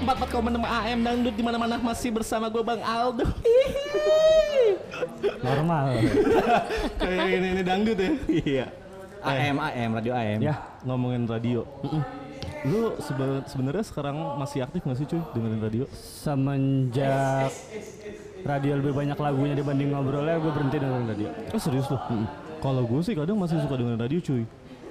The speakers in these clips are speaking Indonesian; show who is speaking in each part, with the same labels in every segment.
Speaker 1: tempat-tempat komen sama AM dangdut di mana-mana masih bersama gue Bang Aldo.
Speaker 2: Normal.
Speaker 1: Kayak ini ini dangdut ya. Iya.
Speaker 3: AM AM radio AM.
Speaker 1: Ya, ngomongin radio. Lu sebe- sebenarnya sekarang masih aktif nggak sih cuy dengerin radio?
Speaker 2: Semenjak radio lebih banyak lagunya dibanding ngobrolnya, gue berhenti dengerin radio.
Speaker 1: Oh serius loh. Kalau gue sih kadang masih suka dengerin radio cuy.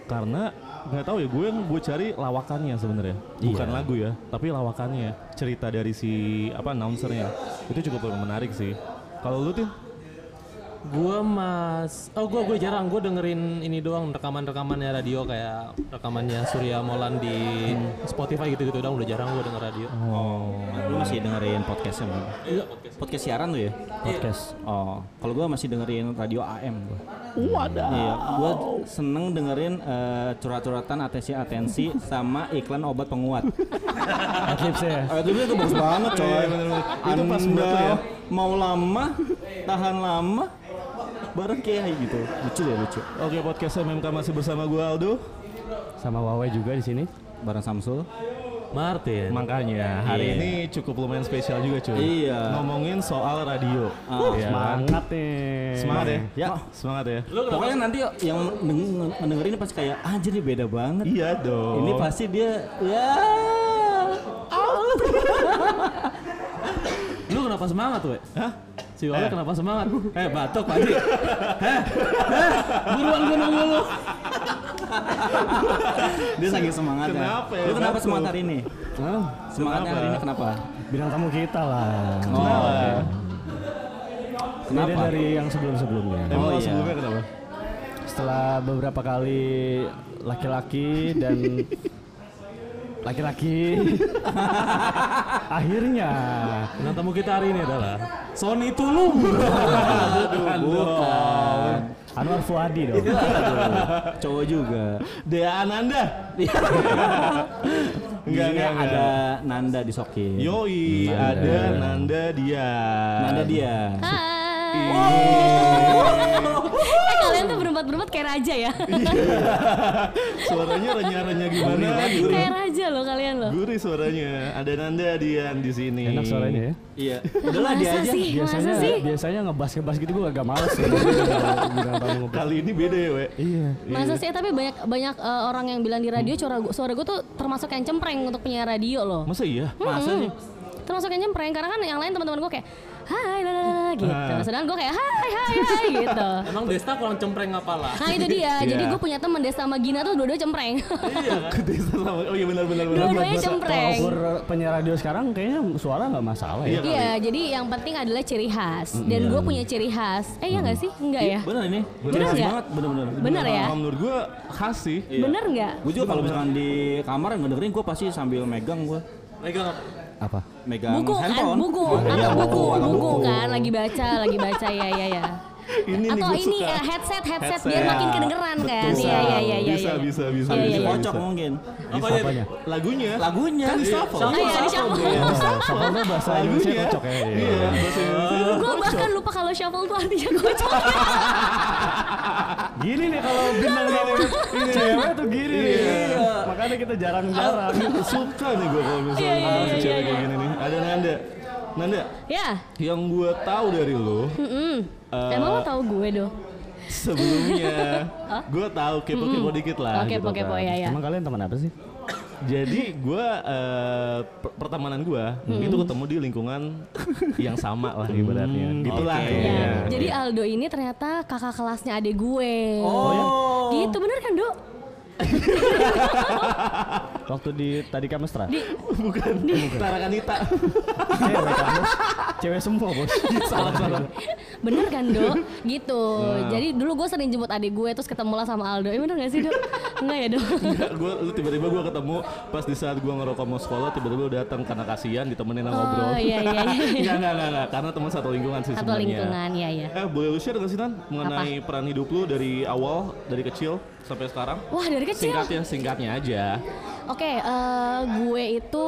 Speaker 1: Karena nggak tahu ya gue yang gue cari lawakannya sebenarnya. Bukan lagu ya, tapi lawakannya. Cerita dari si apa announcernya. Itu cukup menarik sih. Kalau lu tuh
Speaker 4: Gua mas, oh gua gua jarang gua dengerin ini doang rekaman-rekamannya radio kayak rekamannya Surya Molan di Spotify gitu-gitu doang udah jarang gua denger radio.
Speaker 1: Oh.
Speaker 3: Lu masih dengerin podcastnya belum?
Speaker 4: Iya.
Speaker 3: Podcast siaran lu ya?
Speaker 2: Podcast.
Speaker 3: Oh, kalau gua masih dengerin radio AM gua.
Speaker 1: Wadah.
Speaker 3: Iya, gua seneng dengerin eh, curhat-curhatan atensi-atensi sama iklan obat penguat.
Speaker 2: Adlibs ya.
Speaker 3: Eh, itu itu bagus banget coy.
Speaker 1: Iya, Itu pas buat lu
Speaker 3: Anda
Speaker 1: ya?
Speaker 3: mau lama, tahan lama, bareng kiai gitu. Lucu ya lucu.
Speaker 1: Oke podcast MMK masih bersama gue Aldo.
Speaker 2: Sama Wawe juga di sini.
Speaker 3: Bareng Samsul.
Speaker 4: Martin.
Speaker 1: Makanya hari Iya. ini cukup lumayan spesial juga cuy.
Speaker 3: Iya.
Speaker 1: Ngomongin soal radio. Iya.
Speaker 2: Semangat nih.
Speaker 1: Semangat ya.
Speaker 3: Ya.
Speaker 1: Semangat ya.
Speaker 3: Pokoknya nanti yang deng- ngedengerin pasti kayak anjir ini beda banget.
Speaker 1: Iya dong.
Speaker 3: Ini pasti dia ya
Speaker 4: Lu kenapa semangat, we?
Speaker 1: Hah?
Speaker 4: Si Wawe kenapa semangat? Eh, batuk Pak Haji. Hah? Hah? Buruan gua nunggu lu.
Speaker 3: dia saking semangat
Speaker 1: Kenapa ya,
Speaker 3: Lu kenapa
Speaker 1: Batu?
Speaker 3: semangat hari ini?
Speaker 2: Ah,
Speaker 3: Semangatnya
Speaker 1: Kenapa?
Speaker 3: hari ini kenapa?
Speaker 2: bintang tamu kita lah.
Speaker 3: Oh,
Speaker 1: Kenapa?
Speaker 2: Beda
Speaker 3: kenapa?
Speaker 2: dari yang sebelum-sebelumnya.
Speaker 1: Emang
Speaker 3: Oh,
Speaker 1: lo
Speaker 3: iya.
Speaker 1: sebelumnya kenapa?
Speaker 2: Setelah beberapa kali laki-laki dan laki-laki akhirnya
Speaker 4: Nah, tamu kita hari ini adalah Sony Tulung. Bukan, bukan.
Speaker 2: Anwar Fuadi dong.
Speaker 3: Cowok juga.
Speaker 1: Dea Ananda. Enggak,
Speaker 3: Enggak,
Speaker 1: enggak,
Speaker 3: Iya, ada Nanda di Sokin.
Speaker 1: Yoi, ada Nanda dia.
Speaker 3: Nanda dia.
Speaker 5: Hai. eh kalian tuh berempat-berempat kayak raja ya.
Speaker 1: Suaranya renyah-renyah gimana gitu.
Speaker 5: kayak raja loh kalian loh.
Speaker 1: Gurih suaranya. Ada Nanda Dian di sini.
Speaker 2: Enak suaranya ya.
Speaker 3: Iya. Udahlah dia
Speaker 5: Masa
Speaker 3: aja.
Speaker 5: sih?
Speaker 2: Biasanya
Speaker 5: Masa sih?
Speaker 2: biasanya ngebas ngebas gitu gue agak males. ya. Bintang tamu ngebas.
Speaker 1: Kali ini beda ya, we.
Speaker 2: Iya.
Speaker 5: Masa sih? Tapi banyak banyak eh, orang yang bilang di radio suara gua, suara gua tuh termasuk yang cempreng untuk penyiar radio loh. Hmm.
Speaker 1: Masa iya?
Speaker 3: Masa sih?
Speaker 5: Termasuk yang cempreng karena kan yang lain teman-teman gua kayak hai la, la, la, la," gitu.
Speaker 1: Ah.
Speaker 5: Sedangkan gua kayak hai hai hai gitu.
Speaker 4: Emang Desta kurang cempreng apalah?
Speaker 5: Nah itu dia. Jadi
Speaker 1: Iya.
Speaker 5: gua punya teman Desa sama Gina tuh dua-dua cempreng.
Speaker 1: Ke desa sama. Oh iya benar benar benar.
Speaker 5: Dua-duanya ya? cempreng.
Speaker 2: Kalau ukur penyiar radio sekarang kayaknya suara nggak masalah
Speaker 1: Iya.
Speaker 2: ya.
Speaker 5: Iya, jadi yang penting adalah ciri khas. Dan gue punya ciri khas. Eh, iya nggak sih? Enggak ya?
Speaker 3: Bener ini.
Speaker 5: Bener
Speaker 3: Jelas
Speaker 5: nggak?
Speaker 3: banget, bener-bener.
Speaker 5: Bener ya?
Speaker 1: Nah, Kalau menurut gue khas sih.
Speaker 5: Bener nggak?
Speaker 3: Gue juga kalau misalkan di kamar ngedengerin gue pasti sambil megang gue.
Speaker 4: Megang apa?
Speaker 2: Apa?
Speaker 3: Megang
Speaker 5: Buku kan,
Speaker 3: handphone. Iya,
Speaker 5: buku,
Speaker 1: Iya,
Speaker 5: atau buku, buku kan, lagi baca, lagi baca, ya, ya, ya.
Speaker 1: Ini nih
Speaker 5: Atau
Speaker 1: gue
Speaker 5: ini
Speaker 1: suka.
Speaker 5: eh, headset, headset,
Speaker 1: Headset.
Speaker 5: biar makin kedengeran kan,
Speaker 1: Betul.
Speaker 5: iya, iya, iya, iya.
Speaker 1: Bisa,
Speaker 5: iya.
Speaker 1: bisa, bisa,
Speaker 5: Iya,
Speaker 3: Di
Speaker 5: iya, iya.
Speaker 3: Kocok mungkin.
Speaker 4: Apanya?
Speaker 2: Apanya?
Speaker 1: Lagunya.
Speaker 3: Lagunya.
Speaker 1: Kan di shuffle. ya.
Speaker 5: Oh iya, di shuffle.
Speaker 2: Eh, Soalnya bahasa Indonesia
Speaker 1: Lagunya.
Speaker 2: cocok ya.
Speaker 1: Iya, bahasa Indonesia.
Speaker 5: Gue bahkan lupa kalau shuffle tuh artinya kocok.
Speaker 2: Gini nih kalau bintang
Speaker 1: Iya.
Speaker 2: tamu cewek tuh gini. nih. Iya. Makanya kita jarang-jarang.
Speaker 5: Oh,
Speaker 1: Iya, suka nih gue kalau misalnya
Speaker 5: Iya, iya,
Speaker 1: ngomong
Speaker 5: iya,
Speaker 1: si cewek
Speaker 5: iya,
Speaker 1: kayak
Speaker 5: iya.
Speaker 1: gini nih. Ada Nanda. Nanda,
Speaker 5: Ya,
Speaker 1: yang gue tahu dari lo
Speaker 5: mm-mm.
Speaker 1: Eh,
Speaker 5: emang lo tau gue doh?
Speaker 1: sebelumnya gue tahu kepo-kepo dikit lah.
Speaker 5: Hmm. Oke,
Speaker 1: gitu
Speaker 5: kepo-kepo
Speaker 1: kan.
Speaker 5: ya, ya.
Speaker 2: Emang kalian teman apa sih?
Speaker 1: Jadi gue eh, per- pertemanan gue
Speaker 5: Hmm.
Speaker 1: itu ketemu di lingkungan yang sama lah ibaratnya. Gitulah.
Speaker 3: oke.
Speaker 1: ya.
Speaker 5: Ya, Jadi Aldo ini ternyata kakak kelasnya adik gue.
Speaker 3: Oh.
Speaker 5: Gitu bener kan, Dok?
Speaker 2: Waktu di tadi Kamestra.
Speaker 1: Bukan. Tarakanita.
Speaker 2: Cewek Kamus. Cewek semua, Bos.
Speaker 5: Iya,
Speaker 1: Salah salah.
Speaker 5: Bener kan Dok? Gitu.
Speaker 1: Nah.
Speaker 5: Jadi dulu gue sering jemput adik gue terus ketemulah sama Aldo. Eh bener gak sih Dok? Enggak ya Dok?
Speaker 1: Enggak, gua lu tiba-tiba gua ketemu pas di saat gua ngerokok mau sekolah tiba-tiba lu datang karena kasihan ditemenin sama
Speaker 5: Oh,
Speaker 1: ngobrol.
Speaker 5: iya, iya, iya.
Speaker 1: Enggak, enggak, enggak, enggak, karena teman satu lingkungan sih
Speaker 5: Satu
Speaker 1: sebenarnya.
Speaker 5: lingkungan ya ya.
Speaker 1: Eh, boleh lu share gak sih Nan mengenai peran hidup lu dari awal, dari kecil sampai sekarang?
Speaker 5: Wah dari kecil.
Speaker 1: Singkatnya, singkatnya aja.
Speaker 5: Oke, eh, gue itu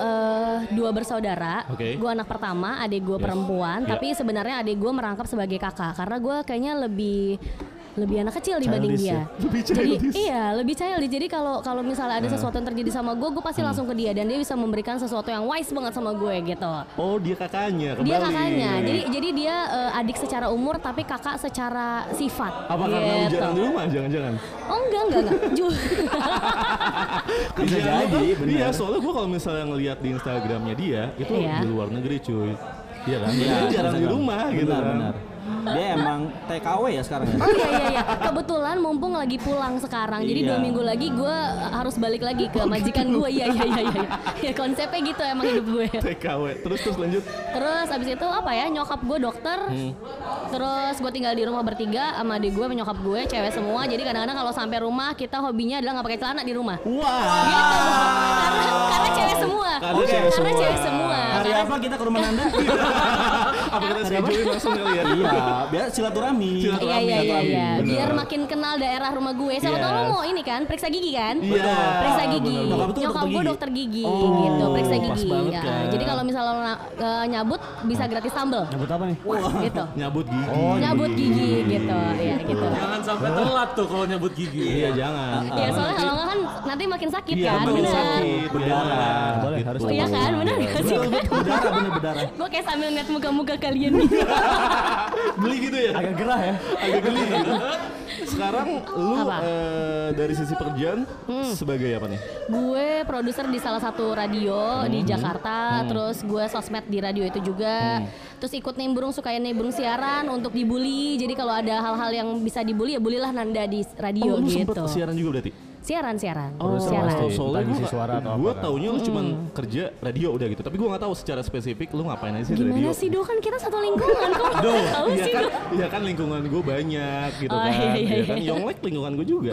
Speaker 5: eh, dua bersaudara.
Speaker 1: Oke.
Speaker 5: Gue anak pertama, adik gue perempuan.
Speaker 1: Iya.
Speaker 5: Tapi sebenarnya adik gue merangkap sebagai kakak karena gue kayaknya lebih lebih anak kecil dibanding
Speaker 1: Childish
Speaker 5: dia.
Speaker 1: ya? Lebih
Speaker 5: Jadi
Speaker 1: childish. Nah.
Speaker 5: iya lebih childish. Jadi kalau kalau misalnya ada sesuatu yang terjadi sama gue, gue pasti
Speaker 1: Hmm.
Speaker 5: langsung ke dia dan dia bisa memberikan sesuatu yang wise banget sama gue gitu.
Speaker 1: Oh dia kakaknya kembali.
Speaker 5: Dia kakaknya, jadi jadi dia eh, adik secara umur tapi kakak secara sifat.
Speaker 1: apa karena
Speaker 5: Gitu.
Speaker 1: hujanan di rumah? Jangan-jangan.
Speaker 5: Oh enggak enggak enggak. Ju- Kan
Speaker 3: Bisa
Speaker 1: Iya,
Speaker 3: jadi,
Speaker 1: iya,
Speaker 3: benar.
Speaker 1: Iya, soalnya gue kalau misalnya ngelihat di Instagramnya dia, itu
Speaker 5: Iya.
Speaker 1: di luar negeri cuy. Iya kan?
Speaker 3: Iya,
Speaker 1: Dia jarang di
Speaker 3: Instagram.
Speaker 1: rumah gitu
Speaker 3: Benar,
Speaker 1: kan.
Speaker 3: benar. Dia emang TKW ya sekarang ya.
Speaker 5: Oh iya iya iya. Kebetulan mumpung lagi pulang sekarang. Jadi
Speaker 3: Iya.
Speaker 5: dua minggu lagi gue harus balik lagi ke majikan gue. Iya iya iya iya. Ya konsepnya gitu emang hidup gue.
Speaker 1: TKW. Terus terus lanjut.
Speaker 5: Terus abis itu apa ya nyokap gue dokter. Terus gue tinggal di rumah bertiga sama adik gue, menyokap gue, cewek semua. Jadi kadang-kadang kalau sampai rumah kita hobinya adalah nggak pakai celana di rumah.
Speaker 3: Wah.
Speaker 5: Gitu. Karena, karena cewek semua.
Speaker 1: Karena cewek
Speaker 5: Karena
Speaker 1: semua.
Speaker 5: cewek semua.
Speaker 3: Hari
Speaker 5: Karena-
Speaker 3: apa kita ke rumah Nanda?
Speaker 1: Apa kita scheduling langsung kali ya?
Speaker 3: Iya, biar silaturahmi.
Speaker 5: Iya iya iya iya.
Speaker 1: Bener.
Speaker 5: Biar makin kenal daerah rumah gue. Sama tau lo
Speaker 1: Yes.
Speaker 5: mau ini kan, periksa gigi kan?
Speaker 1: Iya.
Speaker 5: Periksa gigi.
Speaker 1: bener.
Speaker 3: Nyokap tuh
Speaker 5: Nyokap
Speaker 3: dokter
Speaker 5: gue
Speaker 3: gigi?
Speaker 5: dokter gigi gitu, periksa
Speaker 1: Oh, pas
Speaker 5: gigi.
Speaker 1: banget
Speaker 5: Ya,
Speaker 1: kan.
Speaker 5: Jadi kalau misalnya lo na- eh, nyabut bisa gratis sambel
Speaker 2: Nyebut apa nih?
Speaker 5: gitu.
Speaker 1: Oh, Nyabut Ah, gigi.
Speaker 5: Nyabut gigi gitu, ya gitu.
Speaker 4: Jangan sampai telat tuh kalau nyebut gigi.
Speaker 1: Iya, jangan.
Speaker 5: Ya soalnya kalau nggak kan nanti makin sakit
Speaker 1: Iya,
Speaker 5: kan,
Speaker 1: makin
Speaker 5: benar.
Speaker 1: sakit,
Speaker 3: Berdarah.
Speaker 1: ya.
Speaker 2: Boleh,
Speaker 1: Gitu.
Speaker 2: harus.
Speaker 5: Oh iya kan, benar nggak sih?
Speaker 3: Berdarah bener berdarah.
Speaker 5: Gue kayak sambil ngeliat muka-muka kalian gitu. nih.
Speaker 1: Beli gitu ya.
Speaker 2: Agak gerah ya.
Speaker 1: Agak geli gitu. Sekarang lu
Speaker 5: Apa? Hmm.
Speaker 1: eh, dari sisi pekerjaan sebagai apa nih?
Speaker 5: gue produser di salah satu radio
Speaker 1: Hmm.
Speaker 5: di Jakarta terus gue sosmed di radio itu juga terus ikut nimbrung suka nimbrung siaran untuk dibully jadi kalau ada hal-hal yang bisa dibully ya bulilah Nanda di
Speaker 1: Oh,
Speaker 5: radio
Speaker 1: lu
Speaker 5: gitu Iya,
Speaker 1: sempet siaran juga berarti?
Speaker 5: siaran siaran
Speaker 1: Soalnya
Speaker 5: siaran
Speaker 2: pasti.
Speaker 1: soalnya
Speaker 2: Entah
Speaker 1: gue
Speaker 2: ngisi suara atau
Speaker 1: gue
Speaker 2: apa kan.
Speaker 1: taunya lu cuman
Speaker 5: Hmm.
Speaker 1: kerja radio udah gitu tapi gue nggak tahu secara spesifik lu ngapain aja sih di radio
Speaker 5: gimana sih Do kan kita satu lingkungan kok
Speaker 1: Do,
Speaker 5: nggak tahu
Speaker 1: iya
Speaker 5: sih
Speaker 1: kan,
Speaker 5: Do
Speaker 1: iya kan lingkungan gue banyak gitu
Speaker 5: Oh,
Speaker 1: kan,
Speaker 5: iya, iya,
Speaker 1: iya kan
Speaker 5: iya.
Speaker 1: Yonglek lingkungan gue juga,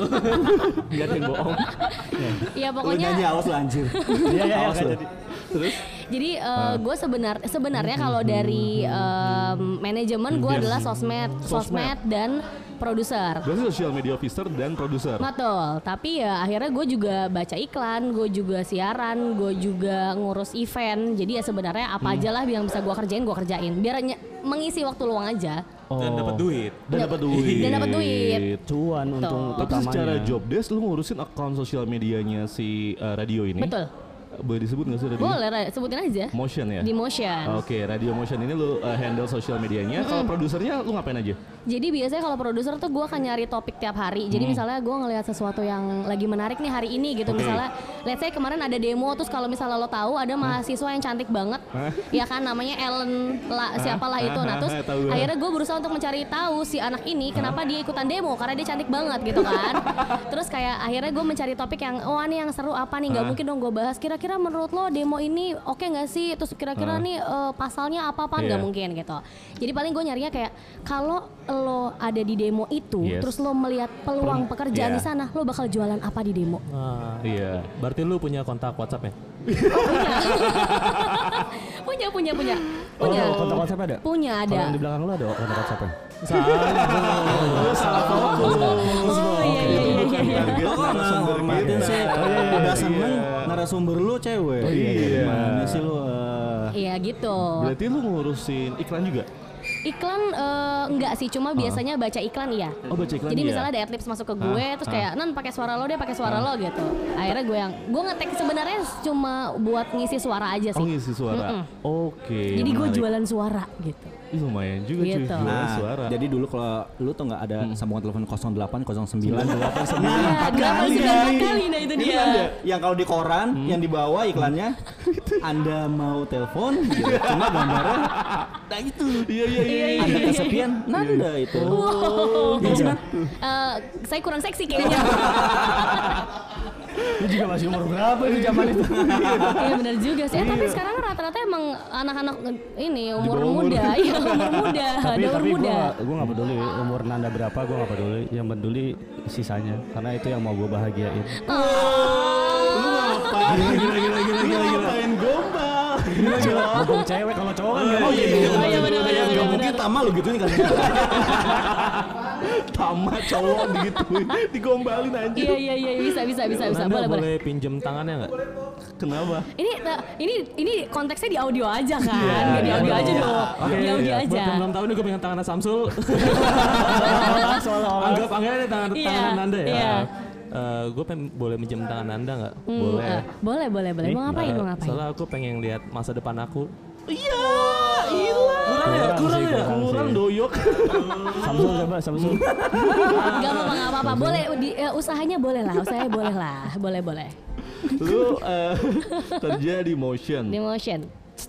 Speaker 1: nggak ada yang bohong.
Speaker 5: ya
Speaker 3: Lu
Speaker 5: pokoknya
Speaker 3: nyanyi awas lu anjir.
Speaker 2: Iya iya
Speaker 1: Awas
Speaker 2: nggak
Speaker 1: lu.
Speaker 2: jadi.
Speaker 1: Terus
Speaker 5: Jadi
Speaker 1: Ah.
Speaker 5: gue sebenar sebenarnya
Speaker 1: Hmm,
Speaker 5: kalau dari em, manajemen gue adalah sosmed, sosmed dan produser.
Speaker 1: berarti social media officer dan produser.
Speaker 5: Betul, tapi ya akhirnya gue juga baca iklan, gue juga siaran, gue juga ngurus event. Jadi ya sebenarnya
Speaker 1: Hmm.
Speaker 5: apa aja lah yang bisa gue kerjain, gue kerjain. Biar nye- mengisi waktu luang aja.
Speaker 1: Hmm.
Speaker 4: Dan dapat duit.
Speaker 1: Dan dapat duit.
Speaker 5: Dan dapat duit.
Speaker 2: Cuan untung
Speaker 5: Tuh.
Speaker 1: Tapi secara
Speaker 2: utamanya.
Speaker 1: job desk lu ngurusin account sosial medianya si eh, radio ini.
Speaker 5: Betul.
Speaker 1: Boleh disebut nggak sih radio?
Speaker 5: Boleh Ra, sebutin aja.
Speaker 1: Motion ya.
Speaker 5: Di motion.
Speaker 1: Oke, Radio Motion ini lu uh, handle sosial medianya. Kalau produsernya lu ngapain aja?
Speaker 5: Jadi biasanya kalau produser tuh gue akan nyari topik tiap hari. Jadi
Speaker 1: Hmm.
Speaker 5: misalnya gue ngelihat sesuatu yang lagi menarik nih hari ini gitu. Misalnya, let's say kemarin ada demo, terus kalau misalnya lo tahu ada mahasiswa yang cantik banget, ya kan namanya Ellen lah siapalah itu. Nah terus
Speaker 1: Tahu gua.
Speaker 5: akhirnya gue berusaha untuk mencari tahu si anak ini kenapa dia ikutan demo karena dia cantik banget gitu kan. terus kayak akhirnya gue mencari topik yang oh ini yang seru apa nih? Gak mungkin dong gue bahas. Kira-kira menurut lo demo ini oke nggak sih? Terus kira-kira nih eh, pasalnya apa apa nggak
Speaker 1: Iya.
Speaker 5: mungkin gitu. Jadi paling gue nyarinya kayak kalau lo ada di demo itu,
Speaker 1: Yes.
Speaker 5: terus lo melihat peluang
Speaker 1: iya.
Speaker 5: pekerjaan di sana, lo bakal jualan apa di demo?
Speaker 4: Nah,
Speaker 1: Iya.
Speaker 4: berarti lu punya kontak WhatsApp ya?
Speaker 5: punya, punya, punya, punya,
Speaker 2: Oh,
Speaker 5: punya,
Speaker 2: kontak WhatsApp ada?
Speaker 5: punya
Speaker 2: Kalau yang
Speaker 5: ada.
Speaker 2: di belakang lu ada kontak ya? WhatsApp-nya?
Speaker 5: Oh iya iya iya iya. iya.
Speaker 1: Target
Speaker 3: Lo kok nggak
Speaker 1: narasumber
Speaker 3: hormatin
Speaker 1: kita.
Speaker 3: sih? Udah seneng narasumber lu cewek.
Speaker 1: iya, iya.
Speaker 3: Gimana sih lu? eh?
Speaker 5: Iya gitu.
Speaker 1: Berarti lu ngurusin iklan juga?
Speaker 5: Iklan eh, enggak sih, cuma biasanya baca iklan iya.
Speaker 1: Oh, baca iklan
Speaker 5: Jadi
Speaker 1: iya.
Speaker 5: misalnya ada adlibs masuk ke gue, terus kayak nan pakai suara lo deh, pakai suara lo gitu. Akhirnya gue yang gue ngetek sebenarnya cuma buat ngisi suara aja
Speaker 1: Oh
Speaker 5: sih.
Speaker 1: ngisi suara. Oke.
Speaker 5: Jadi gue
Speaker 1: menarik.
Speaker 5: jualan suara gitu.
Speaker 1: Ih, lumayan juga cuy
Speaker 5: Gitu.
Speaker 1: jualan
Speaker 3: Nah,
Speaker 1: suara.
Speaker 3: jadi dulu kalau lu tuh nggak ada sambungan telepon 08 09
Speaker 5: Iya,
Speaker 3: 89
Speaker 5: delapan sembilan empat kali nah itu dia.
Speaker 3: yang kalau di koran yang di bawah iklannya Hmm. Anda mau telepon gitu. cuma gambarnya nah itu
Speaker 1: Iya iya iya.
Speaker 3: Anda kesepian Nanda itu
Speaker 5: Wow.
Speaker 3: Iya, Cina.
Speaker 5: Eh, saya kurang seksi kayaknya.
Speaker 2: Lu juga masih umur berapa di zaman itu?
Speaker 5: Iya benar juga sih. Eh, tapi sekarang rata-rata emang anak-anak eh, ini umur
Speaker 1: bawah umur.
Speaker 5: muda, iya umur muda,
Speaker 2: tapi
Speaker 5: ada umur
Speaker 2: tapi gue
Speaker 5: muda.
Speaker 2: gak, gue gak peduli umur Nanda berapa gue gak peduli yang peduli sisanya karena itu yang mau gue bahagiain
Speaker 5: Oh.
Speaker 1: Lu ngapain? Gila gila gila gila Ngapain gombal? Gila gila.
Speaker 2: Mumpung cewek kalau cowok kan gak
Speaker 1: Oh iya iya.
Speaker 5: Oh, iya, bener, bener,
Speaker 3: Nggak
Speaker 5: bener,
Speaker 3: mungkin
Speaker 5: bener.
Speaker 3: tama lu gitu nih kan
Speaker 1: Tama cowok gitu digombalin anjir.
Speaker 5: Iya iya iya bisa bisa bisa bisa
Speaker 4: Nanda
Speaker 5: boleh boleh.
Speaker 4: boleh pinjem tangannya nggak?
Speaker 1: Kenapa?
Speaker 5: Ini eh, ini ini konteksnya di audio aja kan, Nggak di audio aja dong, di audio
Speaker 4: Buat
Speaker 5: aja.
Speaker 4: yang belum tahu nih gue pengen tangannya Samsul. Anggap anggap ini tangan
Speaker 5: Iya,
Speaker 4: tangan Nanda ya.
Speaker 5: iya.
Speaker 4: Eh, gue pengen boleh minjem tangan Nanda nggak?
Speaker 5: Hmm, eh, boleh boleh boleh. Mau ngapain? Mau
Speaker 4: Eh,
Speaker 5: ngapain? Iya,
Speaker 4: Soalnya aku pengen lihat masa depan aku.
Speaker 1: Kurang
Speaker 2: ya? Kurang ya?
Speaker 1: Kurang doyok.
Speaker 2: Samsul coba Samsul.
Speaker 5: Nah. Gak apa-apa, gak apa-apa. Boleh, di- eh, usahanya boleh lah, usahanya boleh lah, boleh boleh.
Speaker 1: Lu eh, kerja di motion.
Speaker 5: Di motion.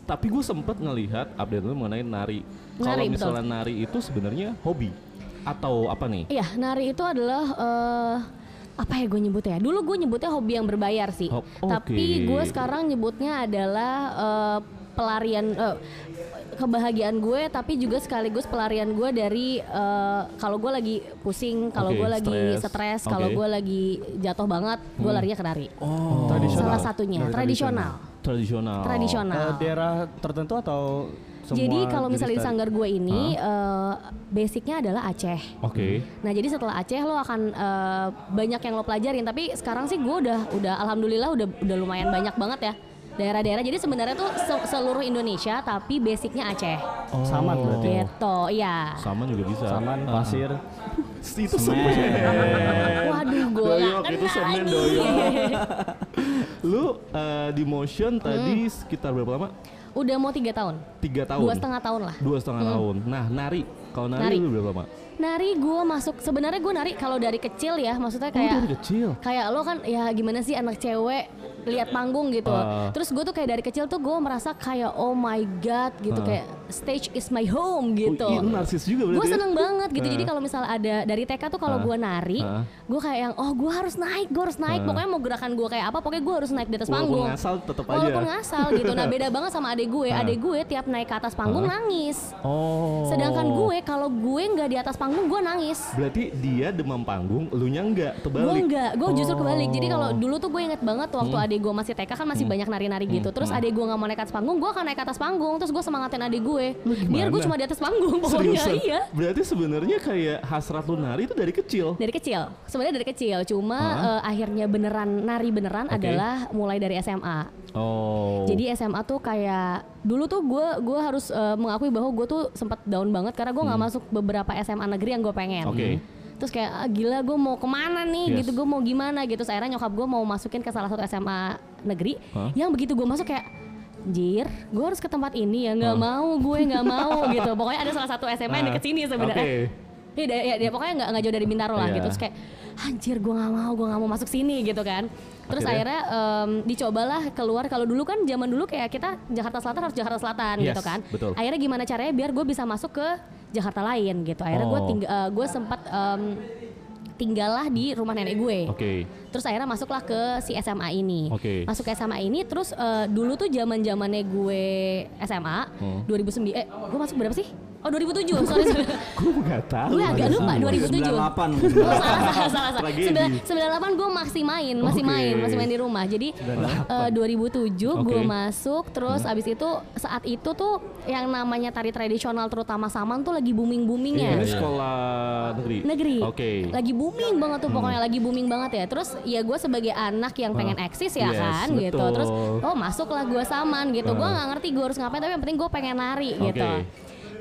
Speaker 1: Tapi gue sempet ngelihat update lu mengenai nari. Kalau
Speaker 5: Nari, betul.
Speaker 1: misalnya nari itu sebenarnya hobi atau apa nih?
Speaker 5: Iya, nari itu adalah eh, apa ya gue nyebutnya? ya? Dulu gue nyebutnya hobi yang berbayar sih.
Speaker 1: Hob- Oh, oke.
Speaker 5: Tapi gue sekarang nyebutnya adalah eh, pelarian eh, kebahagiaan gue, tapi juga sekaligus pelarian gue dari eh, kalau gue lagi pusing, kalau
Speaker 1: Oke,
Speaker 5: gue lagi
Speaker 1: stres.
Speaker 5: stres, kalau
Speaker 1: Oke. Hmm.
Speaker 5: gue lagi jatuh banget, gue larinya ke nari.
Speaker 2: Oh,
Speaker 5: Salah satunya tradisional.
Speaker 1: Tradisional.
Speaker 5: Tradisional.
Speaker 2: daerah tertentu atau semua
Speaker 5: Jadi kalau
Speaker 2: jenis
Speaker 5: misalnya di
Speaker 2: tari?
Speaker 5: Sanggar gue ini eh, basicnya adalah Aceh.
Speaker 1: Oke.
Speaker 5: Nah jadi setelah Aceh lo akan eh, banyak yang lo pelajarin. Tapi sekarang sih gue udah udah alhamdulillah udah udah lumayan banyak banget ya daerah-daerah. Jadi sebenarnya tuh se- seluruh Indonesia tapi basicnya Aceh.
Speaker 2: Saman Oh, berarti.
Speaker 5: Gitu, iya.
Speaker 1: Saman juga bisa.
Speaker 2: Saman
Speaker 1: Ah.
Speaker 2: pasir.
Speaker 1: Itu semen.
Speaker 5: Waduh gue
Speaker 1: Doyok,
Speaker 5: gak
Speaker 1: itu
Speaker 5: kena
Speaker 1: semen
Speaker 5: ini.
Speaker 1: Lu eh, di motion tadi sekitar berapa lama?
Speaker 5: udah mau tiga tahun,
Speaker 1: Tiga tahun.
Speaker 5: Hmm. dua setengah tahun lah.
Speaker 1: Dua setengah tahun. Nah, nari. Kalau nari,
Speaker 5: Nari.
Speaker 1: lu berapa lama?
Speaker 5: Nari gue masuk sebenarnya gue nari kalau dari kecil ya maksudnya
Speaker 1: Oh,
Speaker 5: kayak
Speaker 1: dari kecil.
Speaker 5: kayak lo kan ya gimana sih anak cewek lihat panggung gitu
Speaker 1: Ah.
Speaker 5: terus gue tuh kayak dari kecil tuh gue merasa kayak oh my god gitu kayak stage is my home gitu
Speaker 1: Ah. Oh, iya, lu narsis juga berarti.
Speaker 5: gue
Speaker 1: ya?
Speaker 5: seneng banget gitu jadi kalau misalnya ada dari TK tuh kalau gue nari
Speaker 1: Ah.
Speaker 5: gue kayak yang oh gue harus naik gue harus naik pokoknya mau gerakan gue kayak apa pokoknya gue harus naik di atas
Speaker 1: Walaupun
Speaker 5: panggung
Speaker 1: ngasal tetap aja. Ah.
Speaker 5: walaupun ngasal gitu nah beda banget sama adik gue adik gue tiap naik ke atas panggung nangis
Speaker 1: Oh.
Speaker 5: sedangkan gue kalau gue nggak di atas panggung gue nangis
Speaker 1: Berarti dia demam panggung, lu nya enggak,
Speaker 5: Gue
Speaker 1: terbalik.
Speaker 5: enggak, gue justru kebalik. Jadi kalau
Speaker 1: Oh.
Speaker 5: dulu tuh gue inget banget waktu
Speaker 1: Hmm.
Speaker 5: adek gue masih TK kan masih banyak nari-nari gitu. Terus adek gue nggak mau naik atas panggung, gue akan naik ke atas panggung. Terus gue semangatin adek gue. Biar gue
Speaker 1: gimana?
Speaker 5: cuma di atas panggung pokoknya.
Speaker 1: Seriusan?
Speaker 5: Iya.
Speaker 1: Berarti sebenarnya kayak hasrat lu nari itu dari kecil.
Speaker 5: Dari kecil, sebenarnya dari kecil. Cuma eh, akhirnya beneran nari beneran adalah mulai dari SMA.
Speaker 1: Oh.
Speaker 5: Jadi SMA tuh kayak dulu tuh gue gue harus eh, mengakui bahwa gue tuh sempat down banget karena gue nggak
Speaker 1: Hmm.
Speaker 5: masuk beberapa SMA negeri yang gue pengen.
Speaker 1: Oke.
Speaker 5: Terus kayak "Ah, gila gue mau kemana nih
Speaker 1: Yes.
Speaker 5: gitu gue mau gimana gitu. Terus Akhirnya nyokap gue mau masukin ke salah satu SMA negeri yang begitu gue masuk kayak Jir, gue harus ke tempat ini ya nggak mau gue nggak mau gitu. Pokoknya ada salah satu SMA yang deket sini sebenarnya.
Speaker 1: Ah, Oke.
Speaker 5: Iya, dia, ya, dia pokoknya nggak nggak jauh dari Bintaro lah
Speaker 1: Iya.
Speaker 5: gitu. Terus kayak, anjir gue nggak mau, gue nggak mau masuk sini gitu kan. Terus akhirnya, em, dicobalah keluar. Kalau dulu kan zaman dulu kayak kita Jakarta Selatan harus Jakarta Selatan
Speaker 1: Yes,
Speaker 5: gitu kan.
Speaker 1: betul.
Speaker 5: Akhirnya gimana caranya biar gue bisa masuk ke Jakarta lain gitu. Akhirnya gue
Speaker 1: Oh.
Speaker 5: tinggal, gue sempat em, tinggallah di rumah nenek gue.
Speaker 1: Oke.
Speaker 5: Terus akhirnya masuklah ke si SMA ini.
Speaker 1: Oke.
Speaker 5: Masuk ke SMA ini terus eh, dulu tuh zaman-zamannya gue SMA
Speaker 1: Hmm.
Speaker 5: 2009 eh gue masuk berapa sih? Oh 2007, sorry. sorry.
Speaker 1: Gue enggak tahu.
Speaker 5: Gue agak lupa 2007.
Speaker 3: 98.
Speaker 5: Oh, salah salah salah. salah.
Speaker 1: Tragedi.
Speaker 5: Sembilan- 98 gue masih main, masih
Speaker 1: Oke.
Speaker 5: main, masih main di rumah. Jadi eh, 2007 gue
Speaker 1: Oke. Hmm.
Speaker 5: masuk terus abis itu saat itu tuh yang namanya tari tradisional terutama saman tuh lagi booming-boomingnya
Speaker 1: Ini sekolah negeri.
Speaker 5: Iya. negeri
Speaker 1: Oke.
Speaker 5: lagi booming banget tuh pokoknya lagi booming banget ya terus ya gue sebagai anak yang pengen eksis
Speaker 1: Ah,
Speaker 5: ya
Speaker 1: Yes,
Speaker 5: kan gitu
Speaker 1: betul. Ah.
Speaker 5: terus oh masuklah gue saman gitu gue nggak ngerti gue harus ngapain tapi yang penting gue pengen nari gitu
Speaker 1: Oke.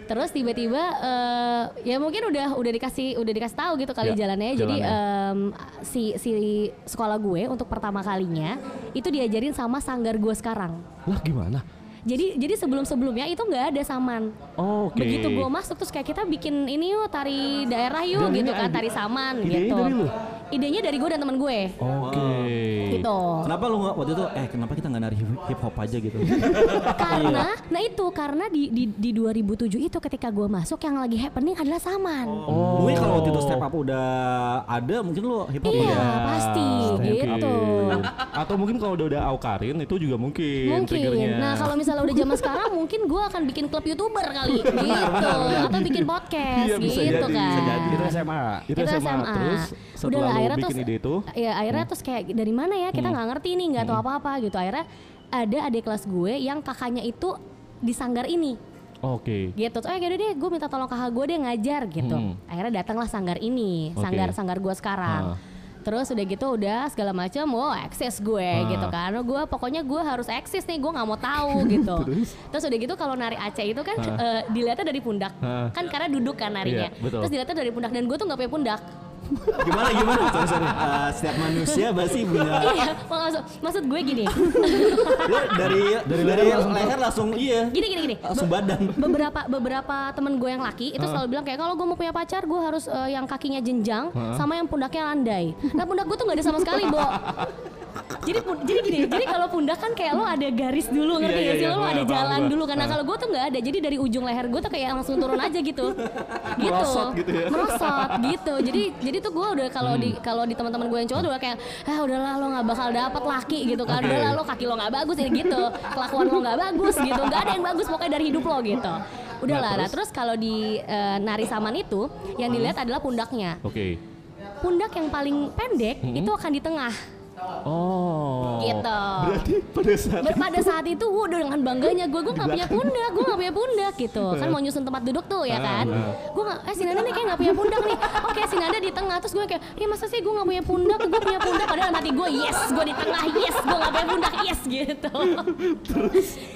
Speaker 5: terus tiba-tiba eh, ya mungkin udah udah dikasih udah dikasih tahu gitu kali
Speaker 1: Ya,
Speaker 5: jalannya jadi em, si si sekolah gue untuk pertama kalinya itu diajarin sama sanggar gue sekarang
Speaker 1: Lah gimana?
Speaker 5: jadi jadi sebelum sebelumnya itu nggak ada saman
Speaker 1: Oh, Oke.
Speaker 5: Begitu gue masuk terus kayak kita bikin ini yuk tari daerah yuk
Speaker 1: Dan
Speaker 5: gitu
Speaker 1: ini
Speaker 5: kan
Speaker 1: ide-
Speaker 5: tari saman
Speaker 1: idenya
Speaker 5: gitu.
Speaker 1: dari lu?
Speaker 5: Idenya dari gue dan temen gue.
Speaker 1: Oke.
Speaker 5: Gitu.
Speaker 3: Kenapa lu nggak waktu itu eh kenapa kita nggak nari hip hop aja gitu?
Speaker 5: Karena
Speaker 1: Iya.
Speaker 5: nah itu karena di di, di 2007 itu ketika gue masuk yang lagi happening adalah saman.
Speaker 3: Oh. Mungkin kalau waktu itu step up udah ada mungkin lu hip hop
Speaker 5: Iya,
Speaker 3: udah.
Speaker 5: pasti gitu.
Speaker 1: Atau mungkin kalau udah udah aukarin itu juga mungkin,
Speaker 5: Mungkin.
Speaker 1: triggernya.
Speaker 5: Nah kalau misalnya udah zaman sekarang mungkin gue akan bikin klub youtuber kali gitu atau bikin podcast
Speaker 1: Iya, bisa
Speaker 5: gitu
Speaker 1: jadi,
Speaker 5: kan.
Speaker 1: bisa jadi.
Speaker 2: Itu SMA.
Speaker 1: itu
Speaker 5: Itu
Speaker 1: SMA,
Speaker 5: SMA.
Speaker 1: terus
Speaker 5: Udah
Speaker 1: setelah
Speaker 5: lah,
Speaker 1: lu
Speaker 5: akhirnya
Speaker 1: bikin
Speaker 5: terus-
Speaker 1: ide itu Hmm.
Speaker 5: Ya akhirnya terus kayak dari mana ya kita nggak ngerti nih nggak tahu apa-apa gitu. Akhirnya ada adik kelas gue yang kakaknya itu di sanggar ini.
Speaker 1: Oke.
Speaker 5: gitu oh ya udah deh gue minta tolong kakak gue deh ngajar gitu
Speaker 1: Hmm.
Speaker 5: akhirnya datanglah sanggar ini
Speaker 1: Oke.
Speaker 5: sanggar sanggar gue
Speaker 1: Ah.
Speaker 5: sekarang terus udah gitu udah segala macam wow eksis gue
Speaker 1: Ah.
Speaker 5: gitu kan gue pokoknya gue harus eksis nih gue nggak mau tahu gitu terus? udah gitu kalau nari Aceh itu kan eh, dilihatnya dari pundak
Speaker 1: Ah.
Speaker 5: kan karena duduk kan narinya
Speaker 1: Iya, betul.
Speaker 5: terus dilihatnya dari pundak dan gue tuh nggak punya pundak
Speaker 3: Gimana gimana? Sorry, sorry. Eh, setiap manusia pasti punya
Speaker 5: iya maksud, maksud gue gini
Speaker 3: Lu dari dari, leher langsung iya.
Speaker 5: gini gini gini
Speaker 3: Langsung badan.
Speaker 5: beberapa beberapa temen gue yang laki itu selalu bilang kayak kalau gue mau punya pacar gue harus eh, yang kakinya jenjang sama yang pundaknya landai nah pundak gue tuh nggak ada sama sekali bo jadi pun- jadi gini jadi kalau pundak kan kayak lo ada garis dulu ngerti
Speaker 1: Iya,
Speaker 5: gak
Speaker 1: iya,
Speaker 5: sih
Speaker 1: iya,
Speaker 5: lo
Speaker 1: gua
Speaker 5: ada
Speaker 1: paham,
Speaker 5: jalan
Speaker 1: gua.
Speaker 5: dulu kan nah kalau gue tuh nggak ada jadi dari ujung leher gue tuh kayak langsung turun aja gitu gitu
Speaker 1: Merosot gitu ya. Hmm.
Speaker 5: merosot gitu jadi jadi tuh gue udah kalau di kalau di teman-teman gue yang cowok udah kayak ah udahlah lo nggak bakal dapet laki gitu kan
Speaker 1: Oke.
Speaker 5: udahlah lo kaki lo nggak bagus ya gitu kelakuan lo nggak bagus gitu nggak ada yang bagus pokoknya dari hidup lo gitu udahlah nah, terus kalau di eh, nari saman itu yang dilihat
Speaker 1: Hmm.
Speaker 5: adalah pundaknya
Speaker 1: Oke.
Speaker 5: pundak yang paling pendek itu akan di tengah
Speaker 1: Hmm. Oh.
Speaker 5: gitu
Speaker 1: Berarti pada saat
Speaker 5: Ber- pada saat itu waduh dengan bangganya gue gue nggak punya pundak gue nggak punya pundak gitu kan mau nyusun tempat duduk tuh ya kan gue nggak eh si Nanda nih kayak nggak punya pundak nih oke si Nanda di tengah terus gue kayak ya masa sih gue nggak punya pundak gue punya pundak padahal dalam hati gue yes gue di tengah yes gue nggak punya pundak yes gitu